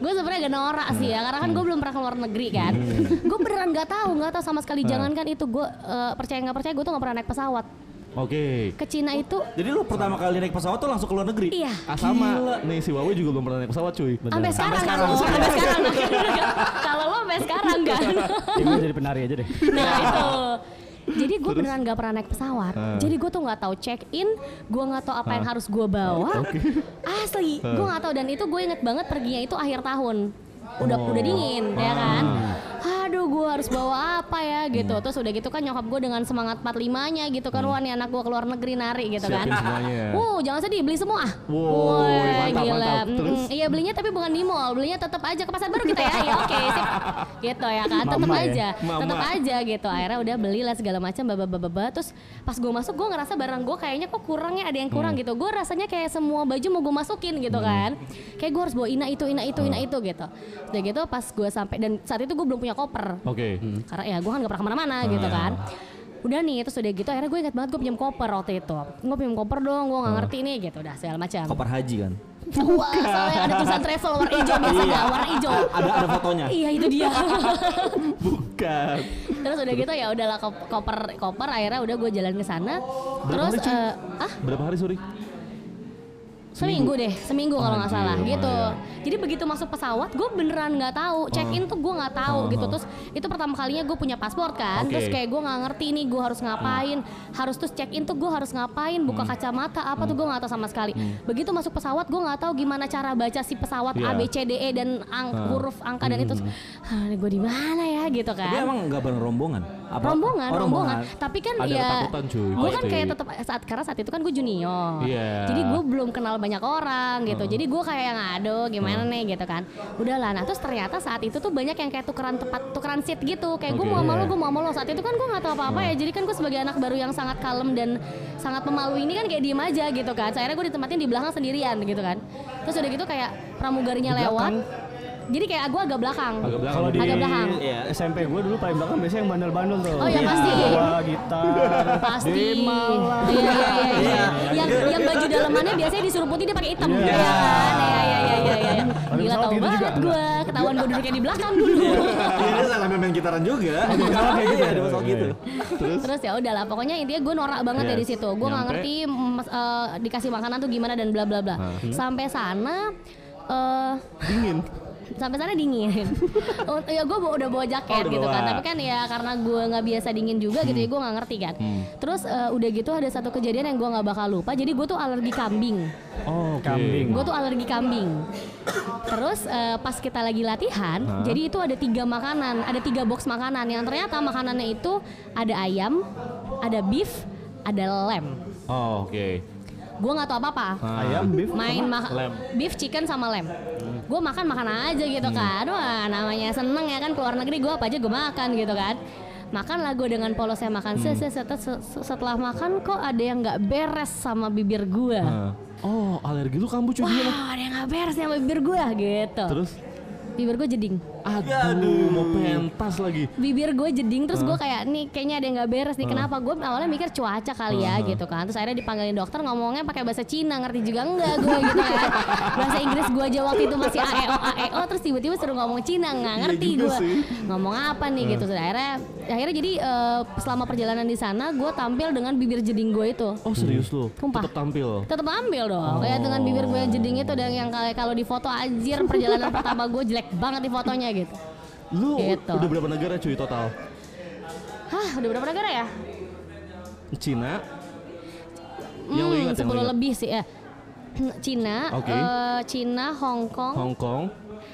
Speaker 5: gue sebenarnya gak norak sih ya karena kan
Speaker 1: Hmm.
Speaker 5: gue belum pernah keluar negeri kan. gue beneran nggak tahu nggak tahu sama
Speaker 1: Hmm.
Speaker 5: sekali. Jangankan itu gue eh, percaya nggak percaya gue tuh nggak pernah naik pesawat.
Speaker 1: Oke.
Speaker 5: Ke Cina itu
Speaker 3: Jadi lu pertama kali naik pesawat tuh langsung ke luar negeri?
Speaker 5: iya
Speaker 1: Ah, sama. Nih si Wawe juga belum pernah naik pesawat cuy.
Speaker 5: sampai sekarang kan lo sampai sekarang kalau lo sampai sekarang kan
Speaker 2: Ya, gua jadi penari aja deh.
Speaker 5: nah itu jadi gue beneran gak pernah naik pesawat jadi gue tuh nggak tahu check in gue nggak tahu apa yang harus gue bawa asli gue nggak tahu dan itu gue inget banget perginya itu akhir tahun udah udah dingin ya kan aduh gue harus bawa apa ya gitu terus udah gitu kan nyokap gue dengan semangat 45-nya gitu kan wah nih anak gue keluar negeri nari gitu
Speaker 1: Siapin
Speaker 5: kan
Speaker 1: semuanya.
Speaker 5: Wow, jangan sedih beli semua.
Speaker 1: Iya. Wow,
Speaker 5: Woy,
Speaker 1: mantap, mantap.
Speaker 5: Mm-mm.
Speaker 1: Terus?
Speaker 5: Iya belinya tapi bukan di mall, belinya tetap aja ke pasar baru kita ya. Ya oke, sip. Gitu ya kan, tetap
Speaker 2: Mama ya,
Speaker 5: aja,
Speaker 1: mama.
Speaker 5: tetap aja gitu. Akhirnya udah belilah segala macam, bababababa. Terus pas gue masuk, gue ngerasa barang gue kayaknya kok kurangnya ada yang
Speaker 1: Hmm.
Speaker 5: kurang gitu. Gue rasanya kayak semua baju mau gue masukin gitu
Speaker 1: Hmm.
Speaker 5: kan. Kayak gue harus bawa ina itu, ina itu, ina itu gitu. Udah gitu pas gue sampai dan saat itu gue belum punya koper. koper
Speaker 1: Oke.
Speaker 5: karena ya gue kan gak pernah kemana-mana gitu kan udah nih terus udah gitu akhirnya gue ingat banget gue pinjam koper waktu itu gue pinjam koper dong gue gak ngerti nih gitu udah segala macam
Speaker 3: Koper haji kan.
Speaker 5: wah soalnya ada tulisan travel warna hijau biasanya warna hijau
Speaker 3: Ada ada fotonya.
Speaker 5: iya itu dia
Speaker 1: Bukan.
Speaker 5: terus udah gitu ya udahlah kop- koper koper akhirnya udah gue jalan ke sana
Speaker 1: Berapa
Speaker 5: terus
Speaker 1: hari, Cuy?
Speaker 5: eh, ah
Speaker 1: Berapa hari sorry?
Speaker 5: seminggu deh seminggu kalau nggak salah
Speaker 1: Anjir,
Speaker 5: gitu
Speaker 1: lumayan. Hmm.
Speaker 5: jadi begitu masuk pesawat gue beneran nggak tahu check in tuh gue nggak tahu gitu terus itu pertama kalinya gue punya paspor kan
Speaker 1: Oke. Hmm.
Speaker 5: terus kayak gue nggak ngerti nih gue harus ngapain harus terus check in tuh gue harus ngapain buka kacamata apa tuh gue nggak tahu sama sekali begitu masuk pesawat gue nggak tahu gimana cara baca si pesawat
Speaker 1: Hmm. Iya. Hmm.
Speaker 5: A B C D E dan ang- huruf angka dan itu gue di mana ya gitu kan
Speaker 3: Tapi emang nggak bareng rombongan. Apa-
Speaker 5: rombongan,
Speaker 3: Oh,
Speaker 5: rombongan. Tapi kan
Speaker 1: Ada
Speaker 5: ya,
Speaker 1: ketakutan, cuy,
Speaker 5: gue kan
Speaker 1: pasti.
Speaker 5: kayak tetap saat karena saat itu kan gue junior,
Speaker 1: Iya. Hmm.
Speaker 5: jadi gue belum kenal banyak orang gitu. Jadi gue kayak yang aduh gimana nih gitu kan. Udahlah, nah terus ternyata saat itu tuh banyak yang kayak tukeran tempat tukeran seat gitu. Kayak gue
Speaker 1: Oke. Hmm.
Speaker 5: mau sama lu, gue mau sama lu. Saat itu kan gue nggak tahu apa-apa ya. Jadi kan gue sebagai anak baru yang sangat kalem dan sangat pemalu ini kan kayak diem aja gitu kan. So, Akhirnya gue ditempatin di belakang sendirian gitu kan. Terus udah gitu kayak pramugarinya lewat. Jadi kayak gue agak belakang.
Speaker 1: Agak belakang.
Speaker 2: Kalau di
Speaker 5: Agak belakang.
Speaker 3: Iya.
Speaker 2: SMP gue dulu paling belakang biasanya yang bandel-bandel tuh.
Speaker 5: Oh, iya, pasti.
Speaker 2: Bawa gitar.
Speaker 5: pasti
Speaker 2: Dema lah.
Speaker 5: iya iya iya iya yang yang baju dalamannya biasanya disuruh putih dia pakai hitam iya kan iya iya iya iya iya
Speaker 2: Ada
Speaker 5: gila
Speaker 2: pesawat
Speaker 5: tahu
Speaker 2: gitu juga,
Speaker 5: banget
Speaker 2: enggak?
Speaker 5: gue ketahuan gue duduknya di belakang dulu
Speaker 3: Iya, dia sampai main gitaran juga. kayak gitu. Ada masalah gitu.
Speaker 5: terus ya udahlah pokoknya intinya gue norak banget
Speaker 1: Yes.
Speaker 5: dari situ gue
Speaker 1: Iya.
Speaker 5: nggak
Speaker 1: Nyampe.
Speaker 5: ngerti mas- eh, dikasih makanan tuh gimana dan bla bla bla sampai sana eh
Speaker 1: Hmm? Dingin.
Speaker 5: sampai sana dingin. Oh, ya gue udah bawa
Speaker 1: Oh,
Speaker 5: jaket
Speaker 1: udah
Speaker 5: gitu kan,
Speaker 1: bawa. Hmm.
Speaker 5: tapi kan ya karena gue nggak biasa dingin juga gitu ya gue nggak ngerti kan. Terus eh, udah gitu ada satu kejadian yang gue nggak bakal lupa. Jadi gue tuh alergi kambing.
Speaker 1: Oh, oke.
Speaker 2: Kambing.
Speaker 5: Gue tuh alergi kambing. Terus eh, pas kita lagi latihan, jadi itu ada tiga makanan, ada tiga box makanan yang ternyata makanannya itu ada ayam, ada beef, ada lem.
Speaker 1: Oh, oke. Nah.
Speaker 5: Gue nggak tahu apa-apa
Speaker 2: Ayam, beef,
Speaker 5: main mah
Speaker 1: lem. Hmm.
Speaker 5: beef chicken sama lem. Gue makan makan aja gitu kan. Wah namanya seneng ya kan keluar negeri gue apa aja gue makan gitu kan. Makan lah gue dengan polosnya
Speaker 1: Hmm.
Speaker 5: makan. Set, set, set, set, setelah makan kok ada yang nggak beres sama bibir gue.
Speaker 1: Nah. Oh, alergi lu kambuh cuy dia.
Speaker 5: Wah ada yang nggak beres sama bibir gue gitu.
Speaker 1: Terus
Speaker 5: Bibir gue jeding.
Speaker 1: Ah. aduh, mau pentas lagi.
Speaker 5: bibir gue jeding terus gue kayak nih kayaknya ada yang nggak beres nih kenapa gue awalnya mikir cuaca kali ya gitu kan terus akhirnya dipanggilin dokter ngomongnya pakai bahasa Cina ngerti juga enggak gue gitu kan bahasa Inggris gue aja waktu itu masih E AEO AEO terus tiba-tiba suruh ngomong Cina nggak ngerti
Speaker 1: Iya juga
Speaker 5: gue
Speaker 1: sih.
Speaker 5: ngomong apa nih gitu terus akhirnya akhirnya jadi eh, selama perjalanan di sana gue tampil dengan bibir jeding gue itu
Speaker 1: Oh, serius lu?
Speaker 5: Sumpah.
Speaker 1: Tetap tampil.
Speaker 5: tetap
Speaker 1: Oh.
Speaker 5: ambil dong kayak dengan bibir gue jeding itu dan yang kayak kalau di foto anjir perjalanan pertama gue jelek banget di fotonya gitu
Speaker 1: Lu
Speaker 5: Gitu.
Speaker 1: udah berapa negara cuy total?
Speaker 5: hah udah berapa negara ya
Speaker 1: Cina, Yang
Speaker 5: Yang
Speaker 1: lu ingat, yang lu
Speaker 5: 10
Speaker 1: ingat.
Speaker 5: Hmm, lebih sih ya. Cina,
Speaker 1: Oke.
Speaker 5: eh, Cina, Hong Kong,
Speaker 1: Hong Kong,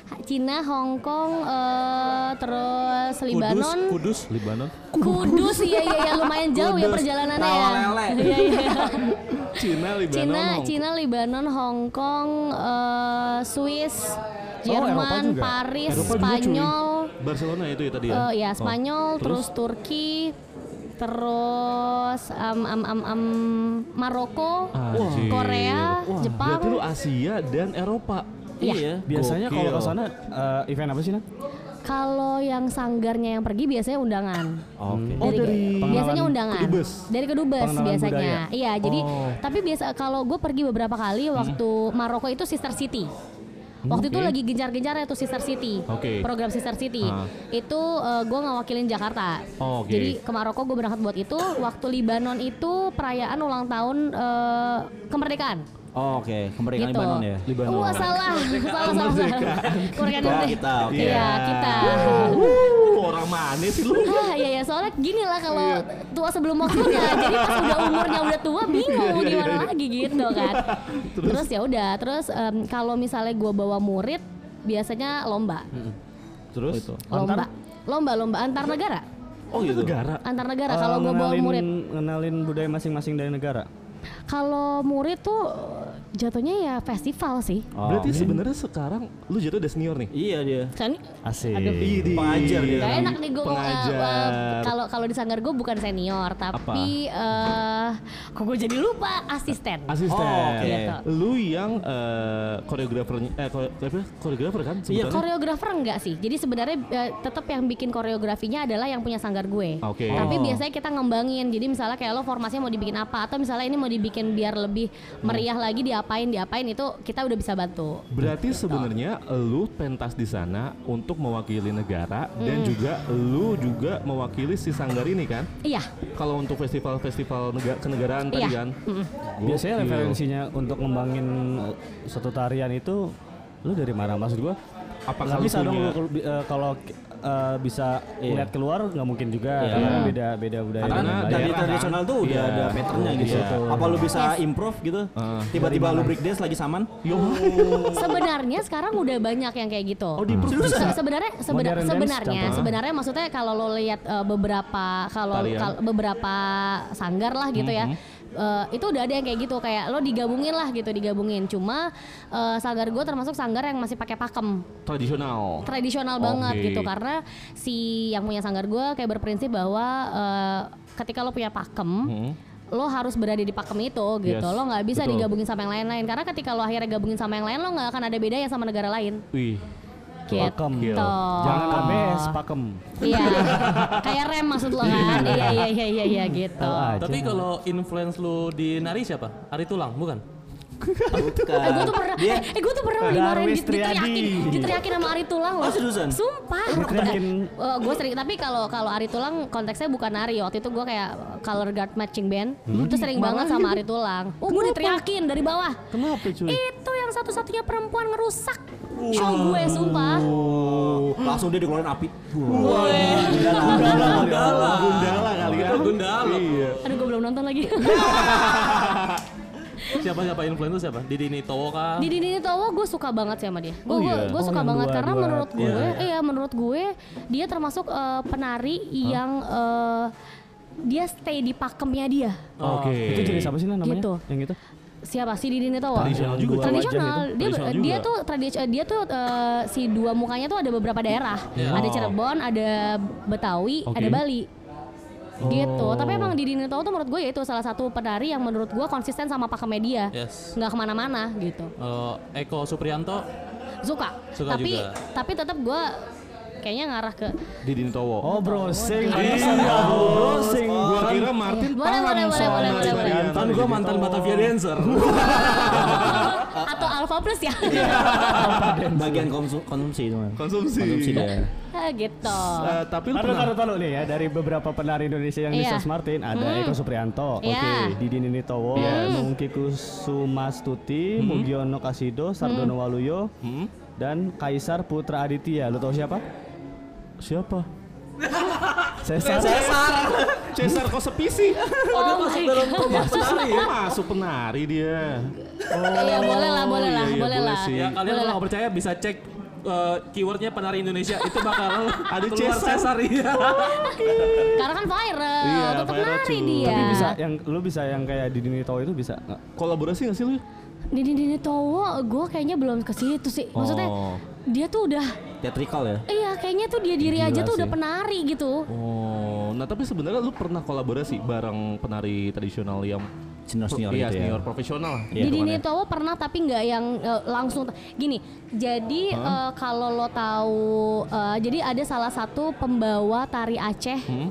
Speaker 5: Ha- Cina, Hong Kong, eh, terus
Speaker 4: Kudus,
Speaker 5: Libanon,
Speaker 4: Kudus.
Speaker 1: Lebanon,
Speaker 5: Kudus, iya iya ya lumayan jauh ya
Speaker 3: Kudus,
Speaker 5: perjalanannya ya.
Speaker 3: Rawalele.
Speaker 5: Iya iya.
Speaker 1: Cina, Lebanon,
Speaker 5: Cina,
Speaker 1: Hong Kong.
Speaker 5: Cina, Libanon, Hong Kong, eh, Swiss, Jerman,
Speaker 2: juga.
Speaker 5: Paris,
Speaker 1: Eropa Oh, juga, cuy.
Speaker 5: Spanyol,
Speaker 1: Barcelona itu ya tadi ya?
Speaker 5: eh, ya
Speaker 1: Oh,
Speaker 5: Spanyol, terus? Turki, terus am am am am Maroko,
Speaker 1: Anjir.
Speaker 5: Korea,
Speaker 1: Wah,
Speaker 5: Jepang.
Speaker 1: Berarti lu Asia dan Eropa.
Speaker 5: Iya.
Speaker 2: Biasanya kalau ke
Speaker 1: Gokil.
Speaker 2: sana eh, event apa sih, Nat?
Speaker 5: Kalau yang sanggarnya yang pergi biasanya undangan.
Speaker 1: Oke.
Speaker 5: Dari, biasanya undangan.
Speaker 1: Oh, kedubes.
Speaker 5: Dari kedubes
Speaker 2: Pengenalan
Speaker 5: biasanya.
Speaker 2: budaya.
Speaker 5: Iya, jadi
Speaker 1: Oh.
Speaker 5: tapi biasa kalau gue pergi beberapa kali waktu Maroko itu Sister City. Waktu itu
Speaker 1: oke.
Speaker 5: lagi gencar-gencarnya tuh Sister City,
Speaker 1: Oke.
Speaker 5: program Sister City.
Speaker 1: Ah.
Speaker 5: Itu gue ngawakilin Jakarta.
Speaker 1: Oh, oke.
Speaker 5: Jadi ke Maroko gue berangkat buat itu. Waktu Libanon itu perayaan ulang tahun eh, kemerdekaan.
Speaker 3: Oh, Oke, kemerdekaan
Speaker 5: Gitu.
Speaker 3: Libanon ya.
Speaker 5: Wah salah, salah salah salah. Kemerdekaan
Speaker 3: Kita,
Speaker 5: Indonesia.
Speaker 3: kita, oke.
Speaker 5: Iya kita.
Speaker 1: Wuh, orang mana sih lu?
Speaker 5: Hah, ya ya soalnya gini lah kalau tua sebelum waktunya. Jadi pas udah umurnya udah tua bingung gimana lagi gitu kan. Terus, ya udah, terus em, kalau misalnya gua bawa murid biasanya lomba.
Speaker 1: Terus?
Speaker 5: Lomba. Lomba lomba antar negara.
Speaker 1: Oh gitu. Negara.
Speaker 5: Antar negara
Speaker 2: Eh,
Speaker 5: kalau gua bawa
Speaker 2: ngenalin-
Speaker 5: murid.
Speaker 2: Ngenalin budaya masing-masing dari negara.
Speaker 5: Kalau murid tuh Jatuhnya ya festival sih.
Speaker 2: Oh, iya.
Speaker 1: Berarti sebenarnya sekarang lu jatuh udah senior nih.
Speaker 3: Iya dia.
Speaker 5: Kan
Speaker 2: Asik.
Speaker 5: Aduh.
Speaker 1: Idi.
Speaker 3: Pengajar dia.
Speaker 5: Gak enak nih gue
Speaker 1: Iya. Pengajar.
Speaker 5: kalau kalau di sanggar gue bukan senior tapi eh kok gue jadi lupa asisten.
Speaker 1: Asisten.
Speaker 3: Oh, oke.
Speaker 5: Gitu.
Speaker 1: Lu yang eh koreografer eh kore- apa? koreografer kan
Speaker 5: Iya,
Speaker 1: sebenarnya.
Speaker 5: koreografer enggak sih. Jadi sebenarnya eh, tetap yang bikin koreografinya adalah yang punya sanggar gue.
Speaker 1: Oke.
Speaker 5: Tapi
Speaker 3: Oh.
Speaker 5: biasanya kita ngembangin. Jadi misalnya kayak lo formasinya mau dibikin apa atau misalnya ini mau dibikin biar lebih meriah lagi diapain diapain itu kita udah bisa bantu.
Speaker 1: Berarti sebenarnya lu pentas di sana untuk mewakili negara dan
Speaker 5: Hmm.
Speaker 1: juga lu juga mewakili si sanggar ini kan?
Speaker 5: Iya.
Speaker 1: Kalau untuk festival-festival negara kenegaraan tadi
Speaker 5: Iya.
Speaker 1: kan.
Speaker 2: Biasanya
Speaker 1: Gokil.
Speaker 2: referensinya untuk ngembangin eh, suatu tarian itu lu dari mana maksud gua?
Speaker 1: Apakah
Speaker 2: nggak
Speaker 1: lu
Speaker 2: bisa dong
Speaker 1: punya-
Speaker 2: lu kelu- bi- eh, kalau eh, bisa
Speaker 3: Iya.
Speaker 2: ngeliat keluar nggak mungkin juga
Speaker 3: Iya.
Speaker 2: karena beda beda budaya.
Speaker 1: Karena
Speaker 2: dan
Speaker 1: Daerah,
Speaker 3: dari
Speaker 1: kan?
Speaker 3: tradisional tuh udah
Speaker 1: Iya.
Speaker 3: ada patternnya gitu.
Speaker 1: Iya.
Speaker 3: Apa lu bisa improve gitu? Tiba-tiba lu break dance lagi saman?
Speaker 1: Yo.
Speaker 5: Sebenarnya sekarang udah banyak yang kayak gitu.
Speaker 1: Oh, di
Speaker 3: Serius
Speaker 5: Se-
Speaker 3: ah?
Speaker 5: sebenarnya sebena-
Speaker 2: Modern dance
Speaker 5: sebenarnya
Speaker 2: contohnya.
Speaker 5: sebenarnya maksudnya kalau lo lihat eh, beberapa kalau
Speaker 1: Tarian.
Speaker 5: kal- beberapa sanggar lah gitu ya eh, itu udah ada yang kayak gitu kayak lo digabungin lah gitu digabungin cuma eh, sanggar gue termasuk sanggar yang masih pakai pakem
Speaker 1: tradisional.
Speaker 5: tradisional
Speaker 1: Oke.
Speaker 5: banget gitu karena si yang punya sanggar gue kayak berprinsip bahwa eh, ketika lo punya pakem lo harus berada di pakem itu gitu
Speaker 1: Mm-hmm. Yes,
Speaker 5: lo nggak bisa
Speaker 1: betul.
Speaker 5: digabungin sama yang lain-lain karena ketika lo akhirnya gabungin sama yang lain lo nggak akan ada bedanya sama negara lain
Speaker 1: Wih.
Speaker 5: gitu
Speaker 2: Pakem. Jangan abes pakem.
Speaker 5: Iya. Kayak rem maksud lo kan? Iya iya iya iya iya gitu.
Speaker 2: Ah,
Speaker 4: Tapi
Speaker 2: jangan.
Speaker 4: kalau influence lu di nari siapa? Ari Tulang, bukan?
Speaker 3: Gitu. Kan.
Speaker 5: Eh gue tuh pernah,
Speaker 3: Dia
Speaker 5: eh, eh gue tuh pernah dimarahin,
Speaker 2: Darwis
Speaker 5: dit- diteriakin,
Speaker 2: Triadi.
Speaker 5: diteriakin sama Ari Tulang loh.
Speaker 3: Oh, seriusan?
Speaker 5: Sumpah.
Speaker 2: Diteriakin.
Speaker 5: Eh, gue sering, tapi kalau kalau Ari Tulang konteksnya bukan nari. Waktu itu gue kayak color guard matching band. Itu sering banget sama Ari Tulang. Oh gue diteriakin dari bawah.
Speaker 1: Kenapa cuy?
Speaker 5: Itu yang satu-satunya perempuan ngerusak show gue sumpah.
Speaker 3: Oh, langsung dia dikeluarin api.
Speaker 1: Gundala. Gundala kali ya.
Speaker 4: Gundala.
Speaker 1: Iya.
Speaker 5: Aduh gue belum nonton lagi.
Speaker 4: Siapa siapa influence lu siapa? Didi Nitowo kah?
Speaker 5: Di Dini Towo gue suka banget sih sama dia. Gue
Speaker 1: Oh
Speaker 5: gue
Speaker 1: iya?
Speaker 5: gue
Speaker 2: Oh,
Speaker 5: suka
Speaker 2: yang
Speaker 5: banget
Speaker 2: dua-
Speaker 5: karena
Speaker 2: dua-
Speaker 5: menurut gue,
Speaker 4: Iya,
Speaker 5: iya menurut gue dia termasuk eh, penari yang eh, dia stay di pakemnya dia.
Speaker 1: Oke.
Speaker 2: Itu jenis apa sih Nan, namanya?
Speaker 5: Gitu.
Speaker 2: Yang itu?
Speaker 5: Siapa sih Didi Nitowo?
Speaker 1: Tradisional juga,
Speaker 2: Cak.
Speaker 5: Tradisional.
Speaker 2: Wajan
Speaker 5: gitu. Dia
Speaker 1: Tradisional
Speaker 5: dia
Speaker 1: juga.
Speaker 5: tuh tradis eh, dia tuh eh, si dua mukanya tuh ada beberapa daerah. Ada Cirebon, ada Betawi,
Speaker 1: Oke.
Speaker 5: ada Bali. Gitu. Tapi emang Didi Nitowo tuh menurut gue ya itu salah satu penari yang menurut gue konsisten sama pakemnya dia.
Speaker 4: Yes.
Speaker 5: Nggak kemana-mana gitu.
Speaker 4: Eh, Eko Suprianto.
Speaker 5: suka,
Speaker 4: Suka
Speaker 5: tapi
Speaker 4: juga.
Speaker 5: tapi tetap gue kayaknya ngarah ke
Speaker 1: Didi Nitowo.
Speaker 2: Oh browsing. Iya,
Speaker 1: browsing. Gua kira Martin
Speaker 5: Boleh,
Speaker 1: paham
Speaker 5: boleh, boleh,
Speaker 1: soal
Speaker 5: boleh,
Speaker 1: tarian
Speaker 5: boleh,
Speaker 3: Kan
Speaker 5: boleh.
Speaker 4: Mantan
Speaker 1: tadi
Speaker 4: gua
Speaker 1: gitu.
Speaker 4: mantan
Speaker 3: Oh.
Speaker 4: Batavia dancer.
Speaker 5: atau Alpha Plus ya
Speaker 3: Bagian konsum- konsumsi itu. Mas.
Speaker 1: Konsumsi.
Speaker 3: Konsumsi ya. dia.
Speaker 5: Ah, gitu
Speaker 1: Eh, tapi lu
Speaker 2: Taruh,
Speaker 1: pernah
Speaker 2: taruh, taruh nih ya dari beberapa penari Indonesia yang di
Speaker 5: Iya.
Speaker 2: Sas Martin ada Eko Suprianto,
Speaker 5: Iya.
Speaker 2: oke, Didi Ninitowo, Mungki Kusumastuti, Mugiono
Speaker 5: Hmm.
Speaker 2: Kasido, Sardono Waluyo, dan Kaisar Putra Aditya. Lo tau siapa?
Speaker 1: siapa?
Speaker 2: Cesar.
Speaker 1: Cesar Kosepisi.
Speaker 5: oh, my God.
Speaker 1: Penari ya, masuk penari dia.
Speaker 5: Iya, boleh lah boleh lah
Speaker 1: iya, iya,
Speaker 5: boleh
Speaker 1: boleh
Speaker 5: lah
Speaker 1: sih.
Speaker 4: ya kalian
Speaker 5: Boleh
Speaker 4: kalau
Speaker 5: lah.
Speaker 4: nggak percaya bisa cek eh, keywordnya penari Indonesia itu bakal
Speaker 1: Ada
Speaker 4: keluar
Speaker 1: Cesar.
Speaker 4: Cesar iya.
Speaker 5: karena kan viral
Speaker 1: Iya,
Speaker 5: tetap
Speaker 1: viral,
Speaker 5: nari
Speaker 1: cuy.
Speaker 5: dia
Speaker 2: Tapi bisa yang lu bisa yang kayak Didi Ninitowo itu bisa nggak?
Speaker 1: Kolaborasi gak sih lu?
Speaker 5: Dini Dini Towo gue kayaknya belum ke situ sih maksudnya
Speaker 1: Oh.
Speaker 5: dia tuh udah
Speaker 3: Teatrikal ya.
Speaker 5: iya kayaknya tuh dia diri aja tuh udah penari gitu
Speaker 1: Oh, nah tapi sebenarnya lu pernah kolaborasi bareng penari tradisional yang
Speaker 3: Senior-senior
Speaker 1: Iya,
Speaker 3: gitu ya.
Speaker 1: senior profesional lah.
Speaker 5: Di
Speaker 1: hitungannya.
Speaker 5: Dini Towo pernah tapi nggak yang eh, langsung gini. Jadi eh, kalau lo tahu eh, jadi ada salah satu pembawa tari Aceh eh,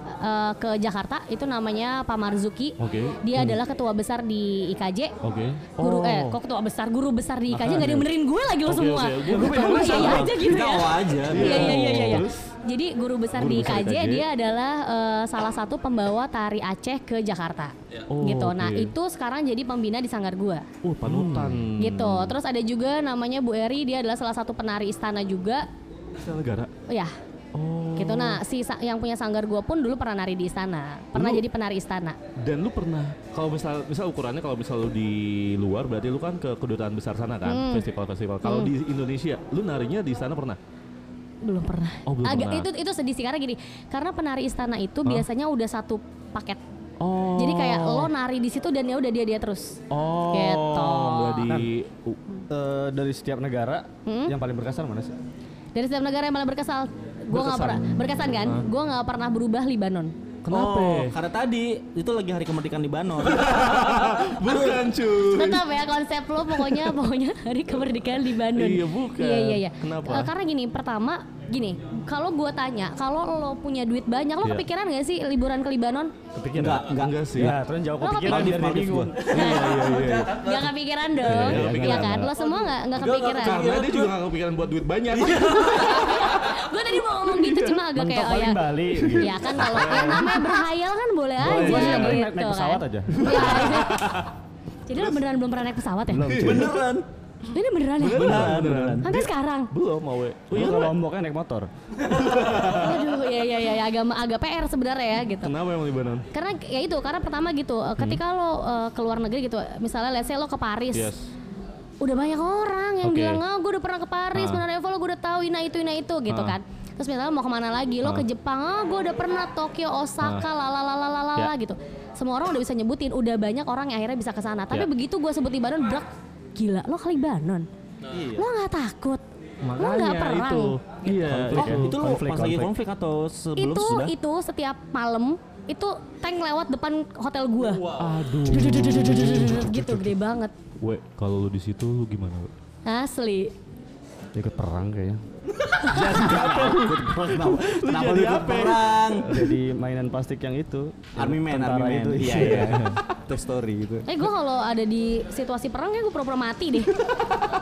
Speaker 5: ke Jakarta itu namanya Pak Marzuki.
Speaker 1: Hmm? Oke. Hmm.
Speaker 5: Dia adalah ketua besar di IKJ.
Speaker 1: Oke. Oh,
Speaker 5: Guru eh kok ketua besar guru besar di IKJ nggak ada yang benerin gue lagi lo
Speaker 1: Oke,
Speaker 5: semua.
Speaker 1: oke. Gue- gue
Speaker 5: Kamu
Speaker 1: pengen
Speaker 5: iya
Speaker 1: nanya
Speaker 5: aja gitu
Speaker 3: Kita
Speaker 5: ya.
Speaker 3: awal aja.
Speaker 5: Iya iya iya iya. iya.
Speaker 1: Terus?
Speaker 5: Jadi guru besar
Speaker 1: Guru
Speaker 5: di
Speaker 1: besar
Speaker 5: IKJ
Speaker 1: IKJ.
Speaker 5: dia adalah eh, salah satu pembawa tari Aceh ke Jakarta.
Speaker 1: Oh,
Speaker 5: gitu. Nah,
Speaker 1: oke.
Speaker 5: itu sekarang jadi pembina di sanggar gua
Speaker 1: Uh, panutan.
Speaker 5: gitu. Terus ada juga namanya Bu Eri, dia adalah salah satu penari istana juga.
Speaker 1: Istana negara.
Speaker 5: Oh, ya. Gitu. Nah, si sa- yang punya sanggar gua pun dulu pernah nari di istana. Pernah
Speaker 1: Lu-
Speaker 5: jadi penari istana.
Speaker 1: Dan lu pernah kalau misal misal ukurannya kalau misal lu di luar berarti lu kan ke kedutaan besar sana kan, festival-festival. Kalau di Indonesia, lu narinya di sana pernah?
Speaker 5: Belum pernah.
Speaker 1: Oh, belum
Speaker 5: Agak
Speaker 1: pernah.
Speaker 5: itu itu sedih sih karena gini, karena penari istana itu biasanya udah satu paket.
Speaker 1: Oh.
Speaker 5: Jadi kayak lo nari di situ dan ya udah dia dia terus.
Speaker 1: Oh,
Speaker 5: Gitu.
Speaker 1: nggak di
Speaker 2: Eh, dari setiap negara
Speaker 5: Hmm.
Speaker 2: yang paling berkesan mana sih?
Speaker 5: Dari setiap negara yang paling berkesal, gue nggak
Speaker 1: Berkesan.
Speaker 5: pernah berkesan kan? Gue nggak pernah berubah Libanon.
Speaker 1: kenapa?
Speaker 3: Oh, karena tadi itu lagi hari kemerdekaan Libanon.
Speaker 1: Bukan cuy.
Speaker 5: Tetap ya konsep lo pokoknya pokoknya hari kemerdekaan Libanon.
Speaker 1: Iya, bukan.
Speaker 5: Iya iya iya.
Speaker 1: Kenapa?
Speaker 5: Eh, karena gini, pertama gini, kalau gue tanya, kalau lo punya duit banyak, lo
Speaker 1: Iya.
Speaker 5: kepikiran gak sih liburan ke Libanon?
Speaker 1: Kepikiran? Enggak, enggak, sih.
Speaker 2: Ya, terus jauh
Speaker 5: Lo
Speaker 2: kepikiran
Speaker 5: kepikiran?
Speaker 2: biar dia bingung.
Speaker 1: iya, iya, iya.
Speaker 5: Gak kepikiran dong,
Speaker 1: Iya, iya,
Speaker 5: ya
Speaker 1: kepikiran.
Speaker 5: kan? Lo semua gak nggak kepikiran?
Speaker 1: Karena dia juga nggak kepikiran buat duit banyak.
Speaker 5: gue tadi mau ngomong gitu cuma agak
Speaker 2: Mentok
Speaker 5: kayak oh ya
Speaker 2: paling Bali. gitu.
Speaker 5: Ya kan kalau yang namanya berhayal kan boleh aja
Speaker 2: Gua sih yang
Speaker 5: gitu
Speaker 2: paling naik, naik pesawat
Speaker 5: kan.
Speaker 2: aja.
Speaker 5: Iya. Jadi lo beneran belum pernah naik pesawat ya?
Speaker 2: Belum. cuy.
Speaker 3: Beneran.
Speaker 5: Ini beneran ya?
Speaker 1: Beneran, beneran.
Speaker 5: Sampai sekarang.
Speaker 1: Belum mau.
Speaker 2: Oh iya, kalau lomboknya naik motor.
Speaker 5: Aduh, ya ya ya ya, agak agak PR sebenarnya ya gitu.
Speaker 1: Kenapa emang Lebanon?
Speaker 5: Karena ya itu, karena pertama gitu, eh, ketika lo eh, ke luar negeri gitu, misalnya let's say lo ke Paris.
Speaker 1: Yes.
Speaker 5: Udah banyak orang yang
Speaker 1: Oke.
Speaker 5: bilang, "Oh, gue udah pernah ke Paris,
Speaker 1: Ah.
Speaker 5: benar Evo, lo gue udah tahu ina itu, ina itu" gitu
Speaker 1: Ah.
Speaker 5: kan. Terus misalnya mau kemana lagi,
Speaker 1: Ah.
Speaker 5: lo ke Jepang, "Oh, gue udah pernah Tokyo, Osaka, lalalalalala
Speaker 1: Ya.
Speaker 5: gitu. Semua orang udah bisa nyebutin, udah banyak orang yang akhirnya bisa ke sana.
Speaker 1: Ya.
Speaker 5: Tapi begitu gue sebut Libanon, brak, gila, lo ke Libanon. Lo nggak takut. lo nggak perang.
Speaker 1: itu. Iya.
Speaker 3: Oh, itu lu
Speaker 2: Konflik,
Speaker 3: pas lagi
Speaker 2: konflik.
Speaker 3: konflik atau sebelum
Speaker 5: Itu
Speaker 3: sudah?
Speaker 5: itu setiap malam itu tank lewat depan hotel gua.
Speaker 1: Aduh.
Speaker 5: Gitu gede banget.
Speaker 1: We, kalau lu di situ lu gimana? We?
Speaker 5: Asli.
Speaker 2: Ikut perang kayaknya.
Speaker 3: Kenapa- Kenapa lu
Speaker 1: jadi
Speaker 3: ikut
Speaker 1: apa?
Speaker 3: perang?
Speaker 2: Jadi mainan plastik yang itu. ya,
Speaker 3: Army man,
Speaker 2: Tentara
Speaker 3: army man.
Speaker 2: itu.
Speaker 3: Iya, iya. Top story gitu.
Speaker 5: Eh gue kalau ada di situasi perang kayak gue pura-pura mati deh.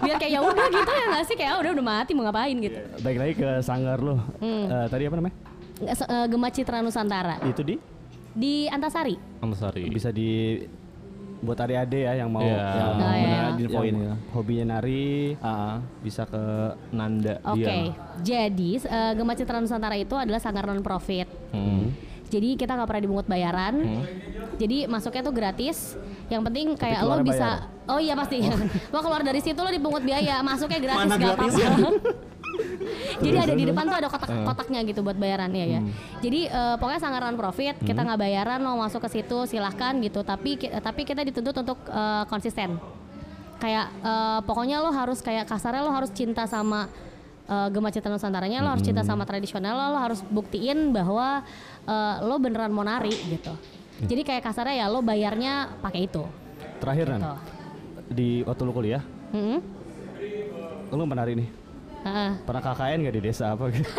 Speaker 5: Biar kayak ya udah gitu ya nggak sih kayak "Ah, udah udah mati mau ngapain gitu.
Speaker 2: Baik iya. lagi ke sanggar lo. Eh, tadi apa namanya?
Speaker 5: Nggak se- eh, Gema Citra Nusantara
Speaker 2: Itu di
Speaker 5: di Antasari.
Speaker 1: Antasari.
Speaker 2: bisa di buat adik-adik ya yang mau
Speaker 1: Iya.
Speaker 2: yang
Speaker 5: Nah,
Speaker 2: mau
Speaker 5: ya.
Speaker 2: yang
Speaker 3: Infoin ya.
Speaker 2: hobinya nari
Speaker 3: Ah.
Speaker 2: bisa ke Iya.
Speaker 1: Nanda
Speaker 5: Oke.
Speaker 1: dia.
Speaker 5: Jadi eh, Gema Citra Nusantara itu adalah sanggar non profit.
Speaker 1: Hmm.
Speaker 5: Jadi kita nggak pernah dimungut bayaran. Jadi masuknya tuh gratis. Yang penting kayak lo
Speaker 2: keluarnya
Speaker 5: bisa. Oh iya pasti. lo keluar dari situ lo dipungut biaya. Masuknya gratis
Speaker 3: Mana
Speaker 5: nggak
Speaker 3: gratis
Speaker 5: apa-apa. Jadi ada di depan tuh ada
Speaker 3: Eh.
Speaker 5: kotak-kotaknya gitu buat bayarannya ya.
Speaker 3: Hmm.
Speaker 5: Jadi eh, pokoknya sanggaran profit, kita nggak bayaran lo masuk ke situ silahkan gitu. Tapi ki- tapi kita dituntut untuk eh, konsisten. Kayak eh, pokoknya lo harus kayak kasarnya lo harus cinta sama eh, Gema Cita Nusantaranya, lo harus cinta
Speaker 3: Hmm.
Speaker 5: sama tradisional lo, lo harus buktiin bahwa eh, lo beneran mau nari gitu.
Speaker 3: Hmm.
Speaker 5: Jadi kayak kasarnya ya lo bayarnya pakai itu.
Speaker 2: terakhir Nan,
Speaker 5: Tuh.
Speaker 2: di waktu lu kuliah
Speaker 5: Mm-mm.
Speaker 2: lu menari nih
Speaker 5: Ah.
Speaker 2: pernah KKN gak di desa apa gitu